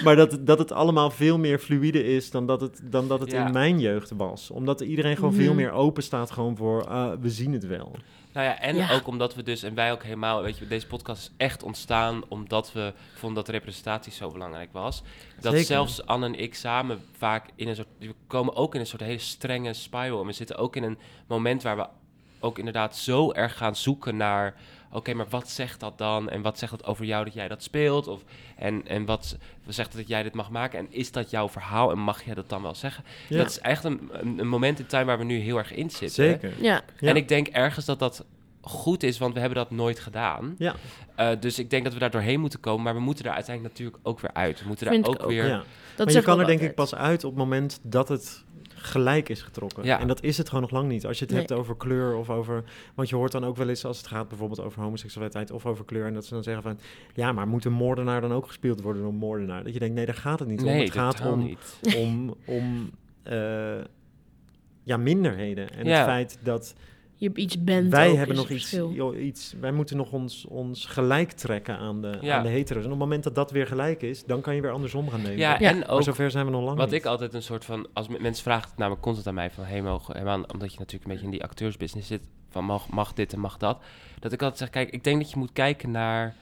Speaker 3: maar dat, dat het allemaal veel meer fluïde is dan dat het, dan dat het
Speaker 2: Ja.
Speaker 3: in mijn jeugd was. Omdat iedereen gewoon veel
Speaker 1: Mhm.
Speaker 3: meer open staat gewoon voor, ah, we zien het wel.
Speaker 2: Nou ja, en
Speaker 1: Ja.
Speaker 2: ook omdat we dus, en wij ook helemaal, weet je, deze podcast is echt ontstaan omdat we vonden dat representatie zo belangrijk was. Dat
Speaker 3: Zeker.
Speaker 2: zelfs Anne en ik samen vaak in een soort, we komen ook in een soort hele strenge spiral. En we zitten ook in een moment waar we ook inderdaad zo erg gaan zoeken naar, oké, maar wat zegt dat dan? En wat zegt dat over jou dat jij dat speelt? Of, en, en wat zegt dat jij dit mag maken? En is dat jouw verhaal? En mag jij dat dan wel zeggen?
Speaker 3: Ja.
Speaker 2: Dat is echt een, een, een moment in time waar we nu heel erg in zitten.
Speaker 3: Zeker.
Speaker 1: ja,
Speaker 3: Ja.
Speaker 2: En ik denk ergens dat dat goed is, want we hebben dat nooit gedaan.
Speaker 3: Ja.
Speaker 2: Eh, dus ik denk dat we daar doorheen moeten komen, maar we moeten er uiteindelijk natuurlijk ook weer uit. We moeten
Speaker 1: Vind
Speaker 2: daar
Speaker 1: ik
Speaker 2: ook,
Speaker 1: ook.
Speaker 2: weer...
Speaker 3: Ja.
Speaker 1: dat
Speaker 3: maar je
Speaker 1: zeg
Speaker 3: kan
Speaker 1: ik
Speaker 3: er
Speaker 1: ook
Speaker 3: denk ik
Speaker 1: altijd.
Speaker 3: pas uit op het moment dat het gelijk is getrokken.
Speaker 2: Ja.
Speaker 3: En dat is het gewoon nog lang niet. Als je het
Speaker 1: Nee.
Speaker 3: hebt over kleur of over... Want je hoort dan ook wel eens als het gaat bijvoorbeeld over homoseksualiteit of over kleur... en dat ze dan zeggen van, ja, maar moet een moordenaar dan ook gespeeld worden door een moordenaar? Dat je denkt, nee, daar gaat het niet om.
Speaker 2: Nee,
Speaker 3: Het gaat
Speaker 2: totaal
Speaker 3: om
Speaker 2: niet.
Speaker 3: om, om eh, ja, minderheden. En
Speaker 2: Ja.
Speaker 3: het feit dat
Speaker 1: Je iets bent
Speaker 3: wij
Speaker 1: ook,
Speaker 3: hebben
Speaker 1: is
Speaker 3: nog
Speaker 1: het
Speaker 3: iets,
Speaker 1: verschil.
Speaker 3: joh, iets, wij moeten nog ons, ons gelijk trekken aan de,
Speaker 2: Ja.
Speaker 3: aan de hetero's. En op het moment dat dat weer gelijk is, dan kan je weer andersom gaan denken.
Speaker 2: Ja,
Speaker 1: Ja.
Speaker 2: en
Speaker 3: maar
Speaker 2: ook
Speaker 3: zover zijn we nog lang
Speaker 2: wat
Speaker 3: niet.
Speaker 2: ik altijd een soort van... Als me- mensen vragen het namelijk constant aan mij van... Hey, mogen, hey man, omdat je natuurlijk een beetje in die acteursbusiness zit... van mag, mag dit en mag dat. Dat ik altijd zeg, kijk, ik denk dat je moet kijken naar...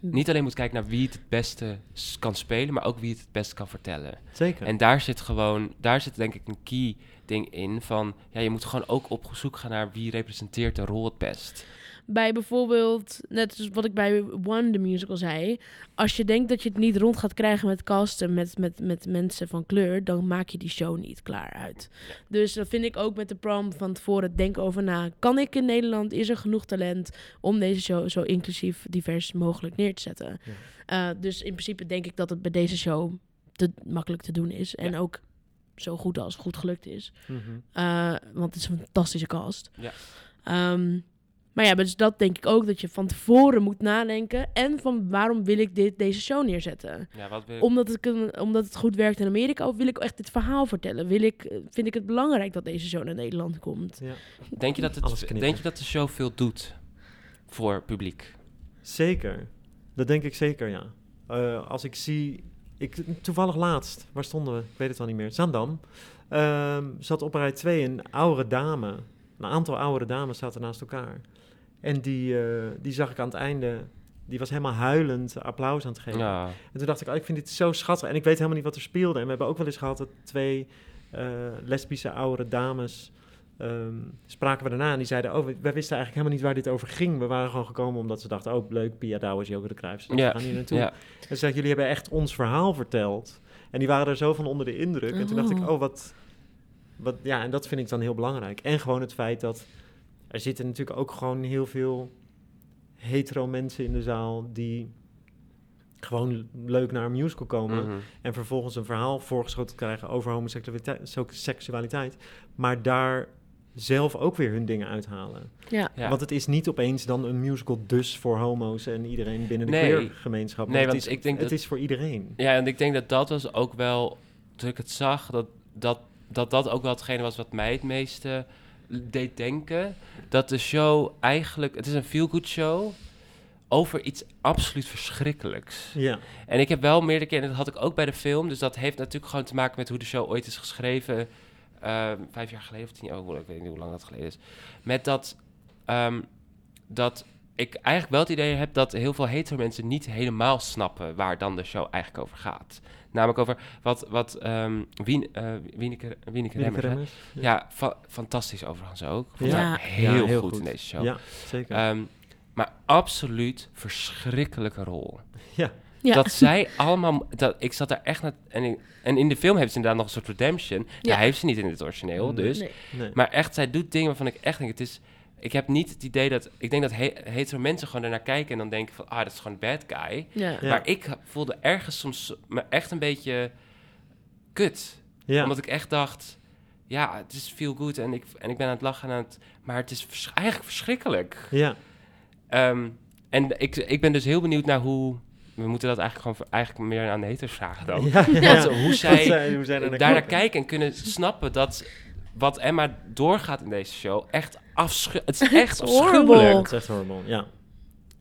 Speaker 2: niet alleen moet kijken naar wie het het beste s- kan spelen, maar ook wie het het best kan vertellen.
Speaker 3: Zeker.
Speaker 2: En daar zit gewoon, daar zit denk ik een key ding in van, ja, je moet gewoon ook op zoek gaan naar wie representeert de rol het best.
Speaker 1: Bij bijvoorbeeld, net als wat ik bij One the Musical zei. Als je denkt dat je het niet rond gaat krijgen met casten, met, met, met mensen van kleur, dan maak je die show niet klaar uit. Dus dat vind ik ook met de prom van tevoren. Denk over na. Kan ik in Nederland? Is er genoeg talent om deze show zo inclusief divers mogelijk neer te zetten?
Speaker 3: Ja.
Speaker 1: Eh, dus in principe denk ik dat het bij deze show te makkelijk te doen is. En ook zo goed als goed gelukt is.
Speaker 3: Mhm.
Speaker 1: Eh, want het is een fantastische cast.
Speaker 2: Ja.
Speaker 1: Ehm, maar ja, dus dat denk ik ook dat je van tevoren moet nadenken. En van waarom wil ik dit, deze show neerzetten?
Speaker 2: Ja, wat wil
Speaker 1: Omdat het, kun- omdat het goed werkt in Amerika? Of wil ik echt dit verhaal vertellen? Wil ik, eh, vind ik het belangrijk dat deze show naar Nederland komt?
Speaker 3: Ja.
Speaker 2: denk, je dat
Speaker 3: Alles
Speaker 2: het,
Speaker 3: knippen.
Speaker 2: denk je dat de show veel doet voor publiek?
Speaker 3: Zeker. Dat denk ik zeker, ja. Eh, als ik zie... Ik, toevallig laatst, waar stonden we? Ik weet het al niet meer. Zandam. Ehm, zat op rij 2 een oude dame. Een aantal oude dames zaten naast elkaar. En die, eh, die zag ik aan het einde... Die was helemaal huilend applaus aan het geven.
Speaker 2: Ja,
Speaker 3: En toen dacht ik, oh, ik vind dit zo schattig. En ik weet helemaal niet wat er speelde. En we hebben ook wel eens gehad dat twee eh, lesbische oudere dames... ehm, spraken we daarna en die zeiden... oh, we- wij wisten eigenlijk helemaal niet waar dit over ging. We waren gewoon gekomen omdat ze dachten... oh, leuk, Pia Douwers, Joke de Cruijff. Ze dachten,
Speaker 2: Ja,
Speaker 3: we gaan hier naartoe.
Speaker 2: ja.
Speaker 3: En ze zeiden, jullie hebben echt ons verhaal verteld. En die waren er zo van onder de indruk. En toen dacht ik,
Speaker 1: Oh.
Speaker 3: oh, wat, wat... Ja, en dat vind ik dan heel belangrijk. En gewoon het feit dat... er zitten natuurlijk ook gewoon heel veel... hetero mensen in de zaal... die gewoon leuk naar een musical komen...
Speaker 2: Mhm.
Speaker 3: en vervolgens een verhaal voorgeschoten krijgen... over homoseksualiteit, zo- seksualiteit, maar daar zelf ook weer hun dingen uithalen.
Speaker 1: Ja.
Speaker 2: Ja.
Speaker 3: Want het is niet opeens dan een musical dus voor homo's... en iedereen binnen de
Speaker 2: Nee.
Speaker 3: queergemeenschap.
Speaker 2: Nee,
Speaker 3: het
Speaker 2: want
Speaker 3: is,
Speaker 2: ik denk
Speaker 3: het
Speaker 2: dat-
Speaker 3: is voor iedereen.
Speaker 2: Ja, en ik denk dat dat was ook wel, toen ik het zag, dat dat, dat, dat ook wel hetgene was wat mij het meeste deed denken. Dat de show eigenlijk, het is een feel-good show over iets absoluut verschrikkelijks.
Speaker 3: Ja,
Speaker 2: En ik heb wel meerdere keren, en dat had ik ook bij de film, dus dat heeft natuurlijk gewoon te maken met hoe de show ooit is geschreven. ehm, vijf jaar geleden of tien jaar, oh, ik weet niet hoe lang dat geleden is. Met dat, ehm, dat ik eigenlijk wel het idee heb dat heel veel hetero mensen niet helemaal snappen waar dan de show eigenlijk over gaat. Namelijk over wat, wat ehm Wien, eh Wieneke, Wieneke
Speaker 3: Willeke
Speaker 2: Remmers, hè?
Speaker 3: Remmers.
Speaker 2: Ja, fa- fantastisch overigens ook. Vond
Speaker 3: Ja.
Speaker 2: haar
Speaker 1: Ja,
Speaker 2: Heel,
Speaker 3: heel
Speaker 2: goed,
Speaker 3: goed.
Speaker 2: in deze show.
Speaker 3: Ja, zeker.
Speaker 2: Ehm, maar absoluut verschrikkelijke rol.
Speaker 3: ja.
Speaker 1: Ja.
Speaker 2: Dat zij allemaal... Dat, ik zat daar echt... Naar, en, ik- en in de film heeft ze inderdaad nog een soort redemption.
Speaker 1: Ja.
Speaker 2: Ja. heeft ze niet in het origineel,
Speaker 3: Nee.
Speaker 2: dus.
Speaker 1: Nee.
Speaker 3: Nee.
Speaker 2: Maar echt, zij doet dingen waarvan ik echt denk... Het is, ik heb niet het idee dat... Ik denk dat he, hetero mensen gewoon daarnaar kijken... en dan denken van... Ah, dat is gewoon een bad guy.
Speaker 1: Ja.
Speaker 3: Ja.
Speaker 2: Maar ik voelde ergens soms me echt een beetje kut.
Speaker 3: ja.
Speaker 2: Omdat ik echt dacht... Ja, het is feel good en ik, en ik ben aan het lachen en aan het... Maar het is vers- eigenlijk verschrikkelijk.
Speaker 3: ja.
Speaker 2: Ehm, en ik, ik ben dus heel benieuwd naar hoe... We moeten dat eigenlijk gewoon voor- eigenlijk meer aan de haters vragen dan.
Speaker 3: Ja, ja, ja.
Speaker 2: Oh. Want hoe
Speaker 3: Wat
Speaker 2: zij
Speaker 3: zij- hoe zij daarnaar
Speaker 2: daarnaar
Speaker 3: kijken.
Speaker 2: kijken en kunnen snappen dat wat Emma doorgaat in deze show echt afschu... Het is echt
Speaker 1: It's horrible.
Speaker 2: afschuwelijk.
Speaker 3: Dat is echt horrible, ja.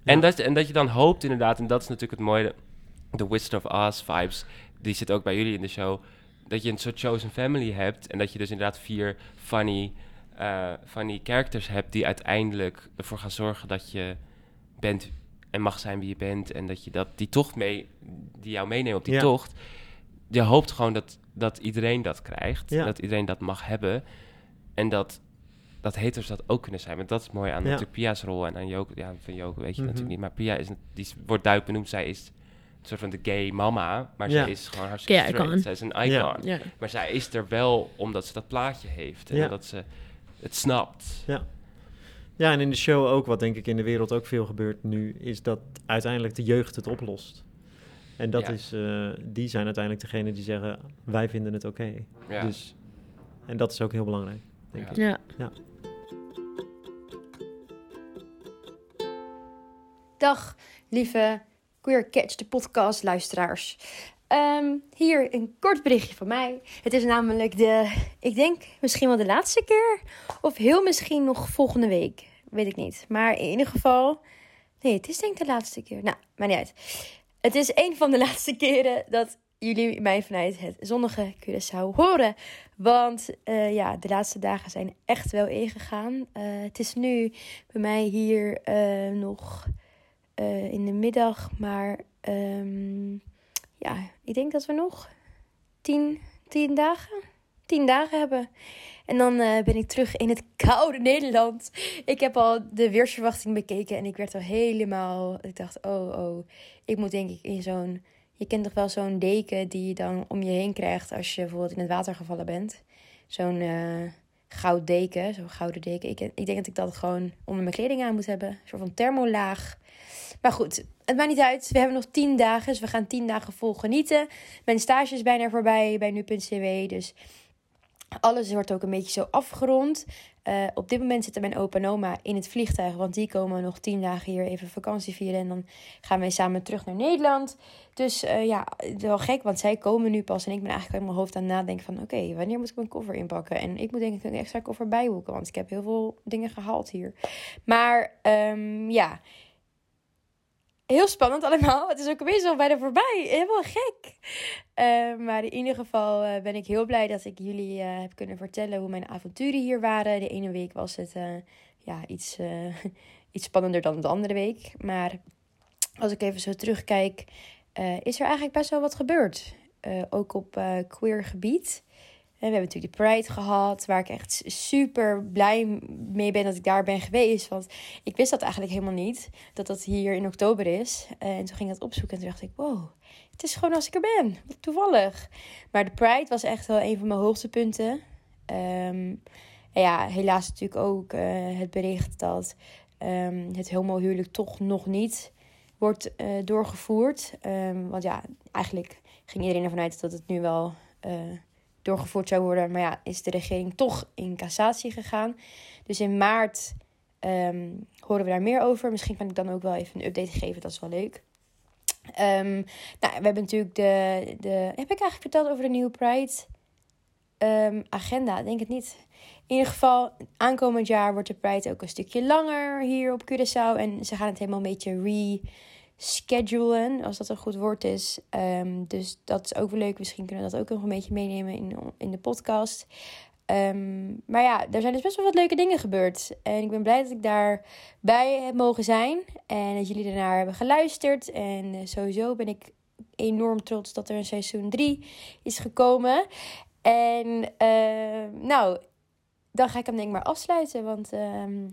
Speaker 2: En dat, en dat je dan hoopt inderdaad, en dat is natuurlijk het mooie... De Wizard of Oz vibes, die zit ook bij jullie in de show... Dat je een soort chosen family hebt en dat je dus inderdaad vier funny, eh funny characters hebt... die uiteindelijk ervoor gaan zorgen dat je bent en mag zijn wie je bent... en dat je dat, die tocht mee, die jou meeneemt op die
Speaker 3: Ja.
Speaker 2: tocht... Je hoopt gewoon dat, dat iedereen dat krijgt,
Speaker 3: Ja.
Speaker 2: dat iedereen dat mag hebben... en dat, dat haters dat ook kunnen zijn. Want dat is mooi aan
Speaker 3: Ja.
Speaker 2: natuurlijk Pia's rol en aan Joke, ja, van Joke weet je
Speaker 3: Mhm.
Speaker 2: natuurlijk niet. Maar Pia is, een- die is- wordt duidelijk benoemd. Zij is een soort van de gay mama. Maar
Speaker 3: Ja.
Speaker 2: zij is gewoon hartstikke
Speaker 1: Gay icon.
Speaker 2: straight. Zij is een icon.
Speaker 3: Ja.
Speaker 1: Ja.
Speaker 2: Maar zij is er wel omdat ze dat plaatje heeft. En
Speaker 3: Ja.
Speaker 2: omdat ze het snapt.
Speaker 3: Ja, en in de show ook, wat denk ik in de wereld ook veel gebeurt nu, is dat uiteindelijk de jeugd het oplost. En dat
Speaker 2: Ja.
Speaker 3: is, eh, die zijn uiteindelijk degene die zeggen, wij vinden het oké.
Speaker 2: Ja.
Speaker 3: Dus, en dat is ook heel belangrijk, denk
Speaker 2: Ja.
Speaker 3: ik.
Speaker 1: Ja.
Speaker 4: Dag, lieve Queer Catch, de podcast luisteraars. Ehm, hier een kort berichtje van mij. Het is namelijk de, ik denk misschien wel de laatste keer. Of heel misschien nog volgende week. Weet ik niet. Maar in ieder geval, nee, het is denk ik de laatste keer. Nou, maakt niet uit. Het is een van de laatste keren dat jullie mij vanuit het zonnige Curaçao horen. Want eh, ja, de laatste dagen zijn echt wel ingegaan. Eh, het is nu bij mij hier eh, nog eh, eh, in de middag. Maar ehm, ja, ik denk dat we nog tien, tien dagen, tien dagen hebben. En dan eh, ben ik terug in het koude Nederland. Ik heb al de weersverwachting bekeken en ik werd al helemaal... Ik dacht, oh, oh, ik moet denk ik in zo'n... Je kent toch wel zo'n deken die je dan om je heen krijgt als je bijvoorbeeld in het water gevallen bent. Zo'n eh goud deken, zo'n gouden deken. Ik, ik denk dat ik dat gewoon onder mijn kleding aan moet hebben. Een soort van thermolaag. Maar goed, het maakt niet uit. We hebben nog tien dagen, dus we gaan tien dagen vol genieten. Mijn stage is bijna voorbij bij nu.cw, dus alles wordt ook een beetje zo afgerond. Eh, op dit moment zitten mijn opa en oma in het vliegtuig, want die komen nog tien dagen hier even vakantie vieren. En dan gaan wij samen terug naar Nederland. Dus eh, ja, het is wel gek, want zij komen nu pas. En ik ben eigenlijk in mijn hoofd aan het nadenken van... oké, wanneer moet ik mijn koffer inpakken? En ik moet denk ik een extra koffer bijboeken... want ik heb heel veel dingen gehaald hier. Maar ehm, ja, heel spannend allemaal. Het is ook opeens al bijna voorbij. Helemaal gek. Eh, maar in ieder geval eh, ben ik heel blij dat ik jullie eh, heb kunnen vertellen... hoe mijn avonturen hier waren. De ene week was het eh, ja, iets, eh, iets spannender dan de andere week. Maar als ik even zo terugkijk... Eh, is er eigenlijk best wel wat gebeurd. Eh, ook op eh, queer gebied. En we hebben natuurlijk de Pride gehad, waar ik echt super blij mee ben dat ik daar ben geweest. Want ik wist dat eigenlijk helemaal niet, dat dat hier in oktober is. Eh, en toen ging ik dat opzoeken en toen dacht ik, wow, het is gewoon als ik er ben. Wat toevallig. Maar de Pride was echt wel een van mijn hoogtepunten. Ehm, en ja, helaas natuurlijk ook eh, het bericht dat ehm, het homohuwelijk toch nog niet wordt eh, doorgevoerd. Ehm, want ja, eigenlijk ging iedereen ervan uit dat het nu wel eh, doorgevoerd zou worden. Maar ja, is de regering toch in cassatie gegaan. Dus in maart ehm, horen we daar meer over. Misschien kan ik dan ook wel even een update geven, dat is wel leuk. Ehm, nou, we hebben natuurlijk de, de... Heb ik eigenlijk verteld over de nieuwe Pride? Ehm, agenda, Ik denk het niet. In ieder geval, aankomend jaar wordt de Pride ook een stukje langer hier op Curaçao. En ze gaan het helemaal een beetje re schedulen, als dat een goed woord is. Ehm, dus dat is ook wel leuk. Misschien kunnen we dat ook nog een beetje meenemen in, in de podcast. Ehm, maar ja, er zijn dus best wel wat leuke dingen gebeurd. En ik ben blij dat ik daarbij heb mogen zijn. En dat jullie ernaar hebben geluisterd. En eh, sowieso ben ik enorm trots dat er een seizoen 3 is gekomen. En ehm, nou, dan ga ik hem denk ik maar afsluiten. Want ehm,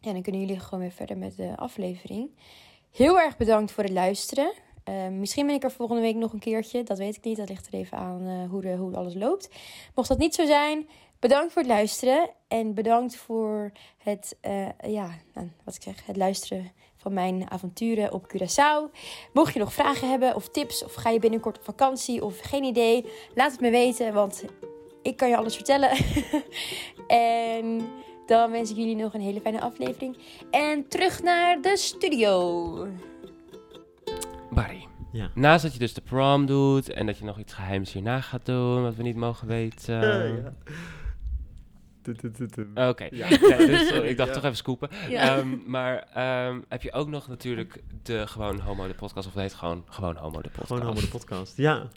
Speaker 4: ja, dan kunnen jullie gewoon weer verder met de aflevering. Heel erg bedankt voor het luisteren. Eh, misschien ben ik er volgende week nog een keertje. Dat weet ik niet. Dat ligt er even aan eh, hoe, de, hoe alles loopt. Mocht dat niet zo zijn, bedankt voor het luisteren. En bedankt voor het, eh, ja, nou, wat ik zeg, het luisteren van mijn avonturen op Curaçao. Mocht je nog vragen hebben of tips, of ga je binnenkort op vakantie of geen idee, laat het me weten, want ik kan je alles vertellen. en dan wens ik jullie nog een hele fijne aflevering. En terug naar de studio.
Speaker 2: Barry.
Speaker 3: Ja.
Speaker 2: Naast dat je dus de prom doet en dat je nog iets geheims hierna gaat doen, wat we niet mogen weten.
Speaker 3: Eh, ja. Tu, tu, tu, tu.
Speaker 2: Oké,
Speaker 3: Ja.
Speaker 2: Ja, dus, eh, ik dacht
Speaker 3: Ja.
Speaker 2: toch even scoopen.
Speaker 1: Ja.
Speaker 2: Ehm, maar ehm, heb je ook nog natuurlijk de Gewoon Homo de podcast, of het heet gewoon Gewoon Homo de podcast.
Speaker 3: Gewoon allemaal de podcast. Ja.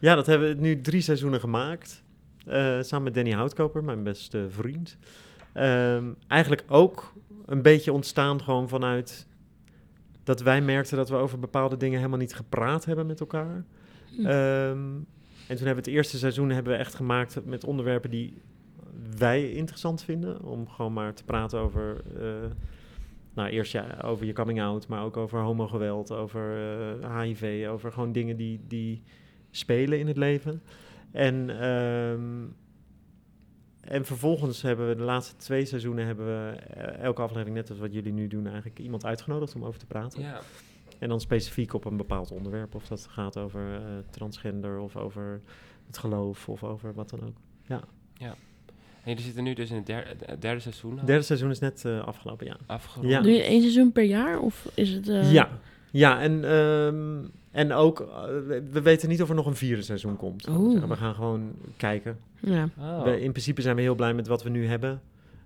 Speaker 3: ja, dat hebben we nu drie seizoenen gemaakt. Eh, samen met Danny Houtkoper, mijn beste vriend. Ehm, eigenlijk ook een beetje ontstaan gewoon vanuit dat wij merkten dat we over bepaalde dingen helemaal niet gepraat hebben met elkaar.
Speaker 1: Hm.
Speaker 3: Ehm, en toen hebben we het eerste seizoen hebben we echt gemaakt met onderwerpen die wij interessant vinden. Om gewoon maar te praten over. eh, nou, eerst ja, over je coming out, maar ook over homogeweld, over eh, HIV, over gewoon dingen die, die spelen in het leven. En, ehm, en vervolgens hebben we de laatste twee seizoenen hebben we eh, elke aflevering, net als wat jullie nu doen, eigenlijk iemand uitgenodigd om over te praten.
Speaker 2: Ja.
Speaker 3: En dan specifiek op een bepaald onderwerp. Of dat gaat over eh, transgender of over het geloof of over wat dan ook.
Speaker 2: En jullie zitten nu dus in het derde, het derde seizoen al
Speaker 3: Derde seizoen is net eh, afgelopen, ja.
Speaker 2: afgerond.
Speaker 3: Ja.
Speaker 1: Doe je één seizoen per jaar of is het... eh,
Speaker 3: Ja, ja en, ehm, en ook, eh, we- we weten niet of er nog een vierde seizoen komt.
Speaker 1: Oeh.
Speaker 3: We gaan gewoon kijken.
Speaker 1: ja.
Speaker 2: Oh.
Speaker 3: We- in principe zijn we heel blij met wat we nu hebben.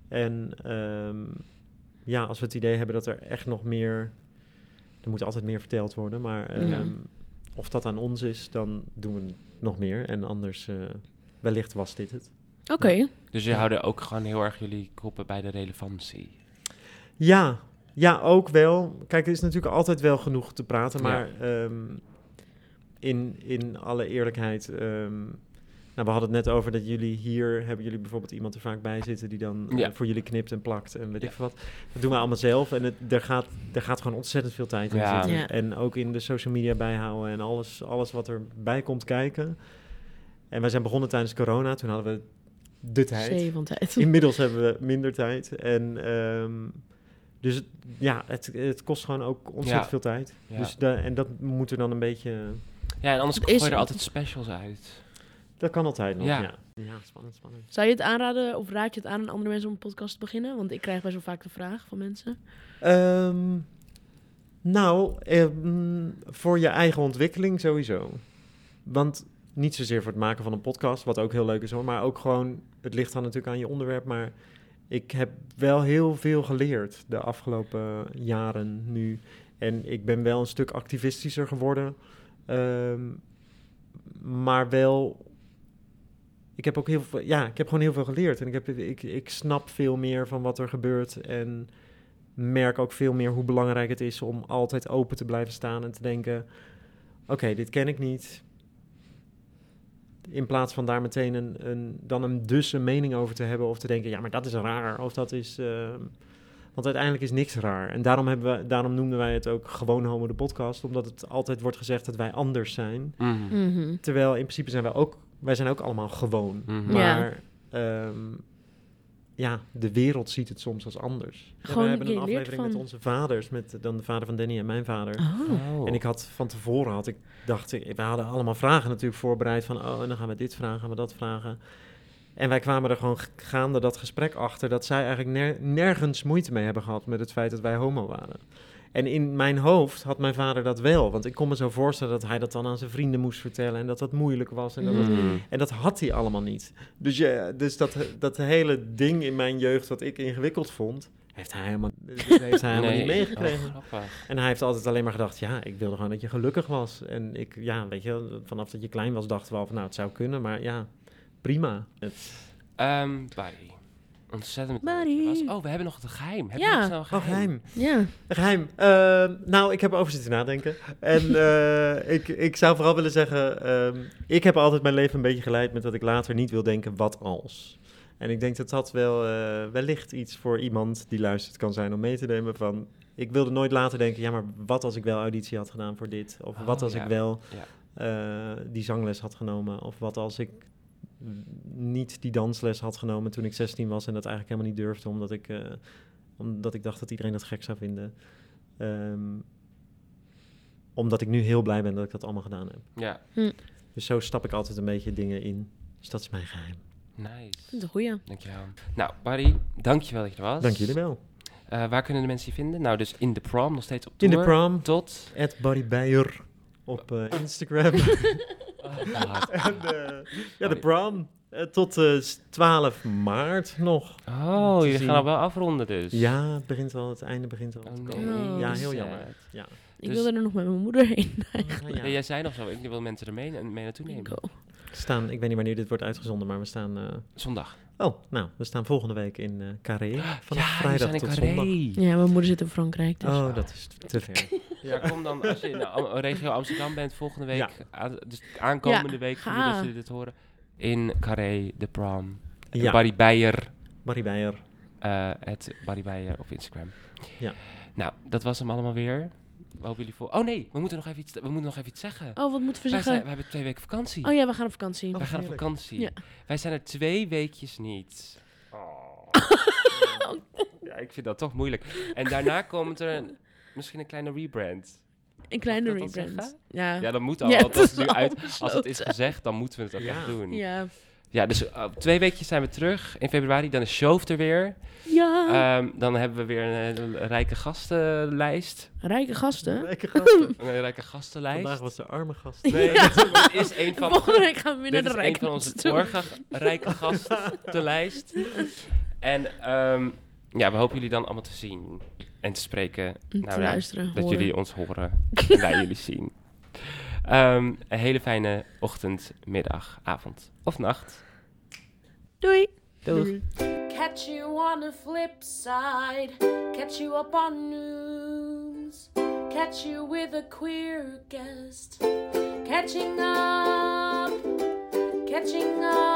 Speaker 3: En ehm, ja, als we het idee hebben dat er echt nog meer... Er moet altijd meer verteld worden, maar ehm,
Speaker 1: Ja.
Speaker 3: of dat aan ons is, dan doen we nog meer. En anders, eh, wellicht was dit het.
Speaker 1: Oké.
Speaker 2: Dus je houden ook gewoon heel erg jullie koppen bij de relevantie.
Speaker 3: Ja, Ja, ook wel. Kijk, er is natuurlijk altijd wel genoeg te praten, maar ehm, in, in alle eerlijkheid. ehm, nou, we hadden het net over dat jullie hier hebben jullie bijvoorbeeld iemand er vaak bij zitten die dan eh,
Speaker 2: Ja.
Speaker 3: voor jullie knipt en plakt en weet
Speaker 2: Ja.
Speaker 3: ik veel wat. Dat doen we allemaal zelf en het, daar, gaat, daar gaat gewoon ontzettend veel tijd in
Speaker 2: Ja.
Speaker 3: zitten.
Speaker 1: Ja.
Speaker 3: En ook in de social media bijhouden en alles, alles wat erbij komt kijken. En wij zijn begonnen tijdens corona, toen hadden we de tijd.
Speaker 1: Zee van tijd.
Speaker 3: Inmiddels hebben we minder tijd. En ehm, dus het- ja, het, het kost gewoon ook ontzettend
Speaker 2: Ja.
Speaker 3: veel tijd.
Speaker 2: Ja.
Speaker 3: Dus da- en dat moet er dan een beetje.
Speaker 2: Ja, en anders
Speaker 1: Het
Speaker 2: gooi
Speaker 1: is-
Speaker 2: je er altijd specials uit.
Speaker 3: Dat kan altijd nog. Ja,
Speaker 2: Ja.
Speaker 3: ja. spannend, spannend.
Speaker 1: Zou je het aanraden of raad je het aan aan andere mensen om een podcast te beginnen? Want ik krijg best wel vaak de vraag van mensen.
Speaker 3: Ehm, nou, ehm, voor je eigen ontwikkeling sowieso. Want niet zozeer voor het maken van een podcast, wat ook heel leuk is hoor, maar ook gewoon, het ligt dan natuurlijk aan je onderwerp, maar ik heb wel heel veel geleerd de afgelopen jaren nu. En ik ben wel een stuk activistischer geworden, ehm, maar wel, ik heb ook heel veel, ja, ik heb gewoon heel veel geleerd en ik, heb, ik, ik snap veel meer van wat er gebeurt en merk ook veel meer hoe belangrijk het is om altijd open te blijven staan en te denken: oké, dit ken ik niet. In plaats van daar meteen een, een, dan een dus een mening over te hebben of te denken: ja, maar dat is raar of dat is. ehm, want uiteindelijk is niks raar. En daarom, hebben we, daarom noemden wij het ook gewoon Homo de Podcast, omdat het altijd wordt gezegd dat wij anders zijn.
Speaker 2: Mhm.
Speaker 1: Mhm.
Speaker 3: Terwijl in principe zijn wij ook, wij zijn ook allemaal gewoon.
Speaker 2: Mhm.
Speaker 3: Maar ehm, ja, de wereld ziet het soms als anders. Ja,
Speaker 1: Gewoon,
Speaker 3: we hebben
Speaker 1: je
Speaker 3: een
Speaker 1: leert
Speaker 3: aflevering met
Speaker 1: van-
Speaker 3: onze vaders, met eh, dan de vader van Danny en mijn vader.
Speaker 1: Oh.
Speaker 2: Oh.
Speaker 3: En ik had van tevoren, had ik, dacht ik, we hadden allemaal vragen natuurlijk voorbereid van, oh, en dan gaan we dit vragen, gaan we dat vragen. En wij kwamen er gewoon g- gaande dat gesprek achter dat zij eigenlijk ner- nergens moeite mee hebben gehad met het feit dat wij homo waren. En in mijn hoofd had mijn vader dat wel, want ik kon me zo voorstellen dat hij dat dan aan zijn vrienden moest vertellen en dat dat moeilijk was en dat het
Speaker 2: Mhm.
Speaker 3: en dat had hij allemaal niet. Dus, ja, dus dat, dat hele ding in mijn jeugd wat ik ingewikkeld vond, heeft hij helemaal, heeft hij helemaal
Speaker 2: Nee.
Speaker 3: niet meegekregen.
Speaker 2: Oh, grappig.
Speaker 3: En hij heeft altijd alleen maar gedacht, ja, ik wilde gewoon dat je gelukkig was. En ik, ja, weet je, wel, vanaf dat je klein was dachten we al van, nou, het zou kunnen, maar ja, prima. Het,
Speaker 2: Ehm, Barry. Ontzettend bedankt dat je
Speaker 1: Barry.
Speaker 2: was. Oh, we hebben nog het geheim. Heb
Speaker 1: Ja.
Speaker 2: je nog snel een
Speaker 3: oh,
Speaker 2: geheim?
Speaker 3: geheim.
Speaker 1: Ja.
Speaker 3: Geheim. Ehm, nou, ik heb erover zitten nadenken. En eh, ik, ik zou vooral willen zeggen, ehm, ik heb altijd mijn leven een beetje geleid met dat ik later niet wil denken wat als. En ik denk dat dat wel eh, wellicht iets voor iemand die luistert kan zijn om mee te nemen van... Ik wilde nooit later denken, ja, maar wat als ik wel auditie had gedaan voor dit? Of
Speaker 2: Oh,
Speaker 3: wat als
Speaker 2: ja.
Speaker 3: ik wel eh, die zangles had genomen? Of wat als ik niet die dansles had genomen toen ik 16 was en dat eigenlijk helemaal niet durfde, omdat ik, eh, omdat ik dacht dat iedereen dat gek zou vinden. Ehm, omdat ik nu heel blij ben dat ik dat allemaal gedaan heb.
Speaker 2: Ja,
Speaker 3: Dus zo stap ik altijd een beetje dingen in. Dus dat is mijn geheim.
Speaker 1: Dat is
Speaker 2: nice.
Speaker 1: een goeie.
Speaker 2: Dankjewel. Nou, Barry, dankjewel dat je er was.
Speaker 3: Dank jullie wel.
Speaker 2: Eh, waar kunnen de mensen je vinden? Nou, dus in de prom, nog steeds op
Speaker 3: In
Speaker 2: tour.
Speaker 3: de prom,
Speaker 2: Tot...
Speaker 3: at Barry Beijer op eh, Instagram.
Speaker 2: Oh,
Speaker 3: en, eh, ja, de prom. Eh, tot eh, 12 maart nog.
Speaker 2: Oh,
Speaker 3: Te
Speaker 2: jullie
Speaker 3: zien.
Speaker 2: gaan al wel afronden dus.
Speaker 3: Ja, het begint al, het einde begint al.
Speaker 2: Oh,
Speaker 3: te
Speaker 2: nee.
Speaker 3: komen.
Speaker 1: Oh,
Speaker 3: ja, heel
Speaker 2: sad.
Speaker 3: jammer. Ja.
Speaker 1: Ik
Speaker 2: Dus-
Speaker 1: wilde er nog met mijn moeder heen.
Speaker 3: Ja.
Speaker 2: Nee, jij zei nog zo, ik wil mensen er mee, mee naartoe nemen.
Speaker 1: Go.
Speaker 3: staan, ik weet niet wanneer dit wordt uitgezonden, maar we staan. eh,
Speaker 2: Zondag.
Speaker 3: oh, nou, we staan volgende week in eh Carré. Vanaf
Speaker 2: ja, we
Speaker 3: vrijdag
Speaker 2: zijn in
Speaker 3: tot
Speaker 2: Carré.
Speaker 3: zondag.
Speaker 1: Ja, mijn moeder zit in Frankrijk. Dus.
Speaker 3: Oh, dat is te ver.
Speaker 2: Ja, kom dan als je in de Am- regio Amsterdam bent volgende week,
Speaker 3: Ja.
Speaker 2: aan- dus aankomende
Speaker 1: Ja,
Speaker 2: week, voor
Speaker 1: ga.
Speaker 2: jullie dat jullie dit horen, in Carré, de prom.
Speaker 3: Ja.
Speaker 2: Barry Beijer,
Speaker 3: Marie Beijer.
Speaker 2: eh het Barry Beijer op Instagram.
Speaker 3: Ja.
Speaker 2: Nou, dat was hem allemaal weer. We hopen jullie voor... Oh nee, we moeten nog even iets, we moeten nog even iets zeggen.
Speaker 1: Oh, wat moeten we
Speaker 2: Wij zijn-
Speaker 1: zeggen?
Speaker 2: we hebben twee weken vakantie.
Speaker 1: Oh ja, we gaan op vakantie.
Speaker 3: Oh,
Speaker 2: Wij gaan op
Speaker 3: heerlijk.
Speaker 2: vakantie.
Speaker 1: Ja.
Speaker 2: Wij zijn er twee weekjes niet. Oh. ja, ik vind dat toch moeilijk. En daarna komt er een- misschien een kleine rebrand.
Speaker 1: Een kleine
Speaker 2: Mag ik dat dan
Speaker 1: rebrand.
Speaker 2: zeggen?
Speaker 1: Ja.
Speaker 2: Ja, dat moet al.
Speaker 1: Ja,
Speaker 2: want als,
Speaker 1: dat
Speaker 2: het nu
Speaker 1: is al
Speaker 2: uit, als het is
Speaker 1: besloten.
Speaker 2: gezegd, dan moeten we het ook
Speaker 3: Ja.
Speaker 2: echt doen. Ja,
Speaker 1: Ja.
Speaker 2: dus eh, op twee weekjes zijn we terug. In februari, dan is Shove er weer.
Speaker 1: Ja.
Speaker 2: Ehm, dan hebben we weer een, eh, rijke gastenlijst.
Speaker 1: Rijke gasten.
Speaker 3: Lekker gasten.
Speaker 2: Een rijke gastenlijst.
Speaker 3: Vandaag was de arme gast.
Speaker 2: Nee,
Speaker 1: Ja.
Speaker 2: dat is een van...
Speaker 1: Volgende week gaan we weer naar
Speaker 2: Dit
Speaker 1: de
Speaker 2: is
Speaker 1: Rijk.
Speaker 2: een van onze vorige rijke gastenlijst. En ehm, ja, we hopen jullie dan allemaal te zien en te spreken.
Speaker 1: te
Speaker 2: ja,
Speaker 1: luisteren.
Speaker 2: dat
Speaker 1: horen.
Speaker 2: jullie ons horen en wij jullie zien. Ehm, een hele fijne ochtend, middag, avond of nacht.
Speaker 1: Doei.
Speaker 2: Doeg.
Speaker 4: Catch Catch you on the flip side. Catch you up on news. Catch you with a queer guest. Catching up. Catching up.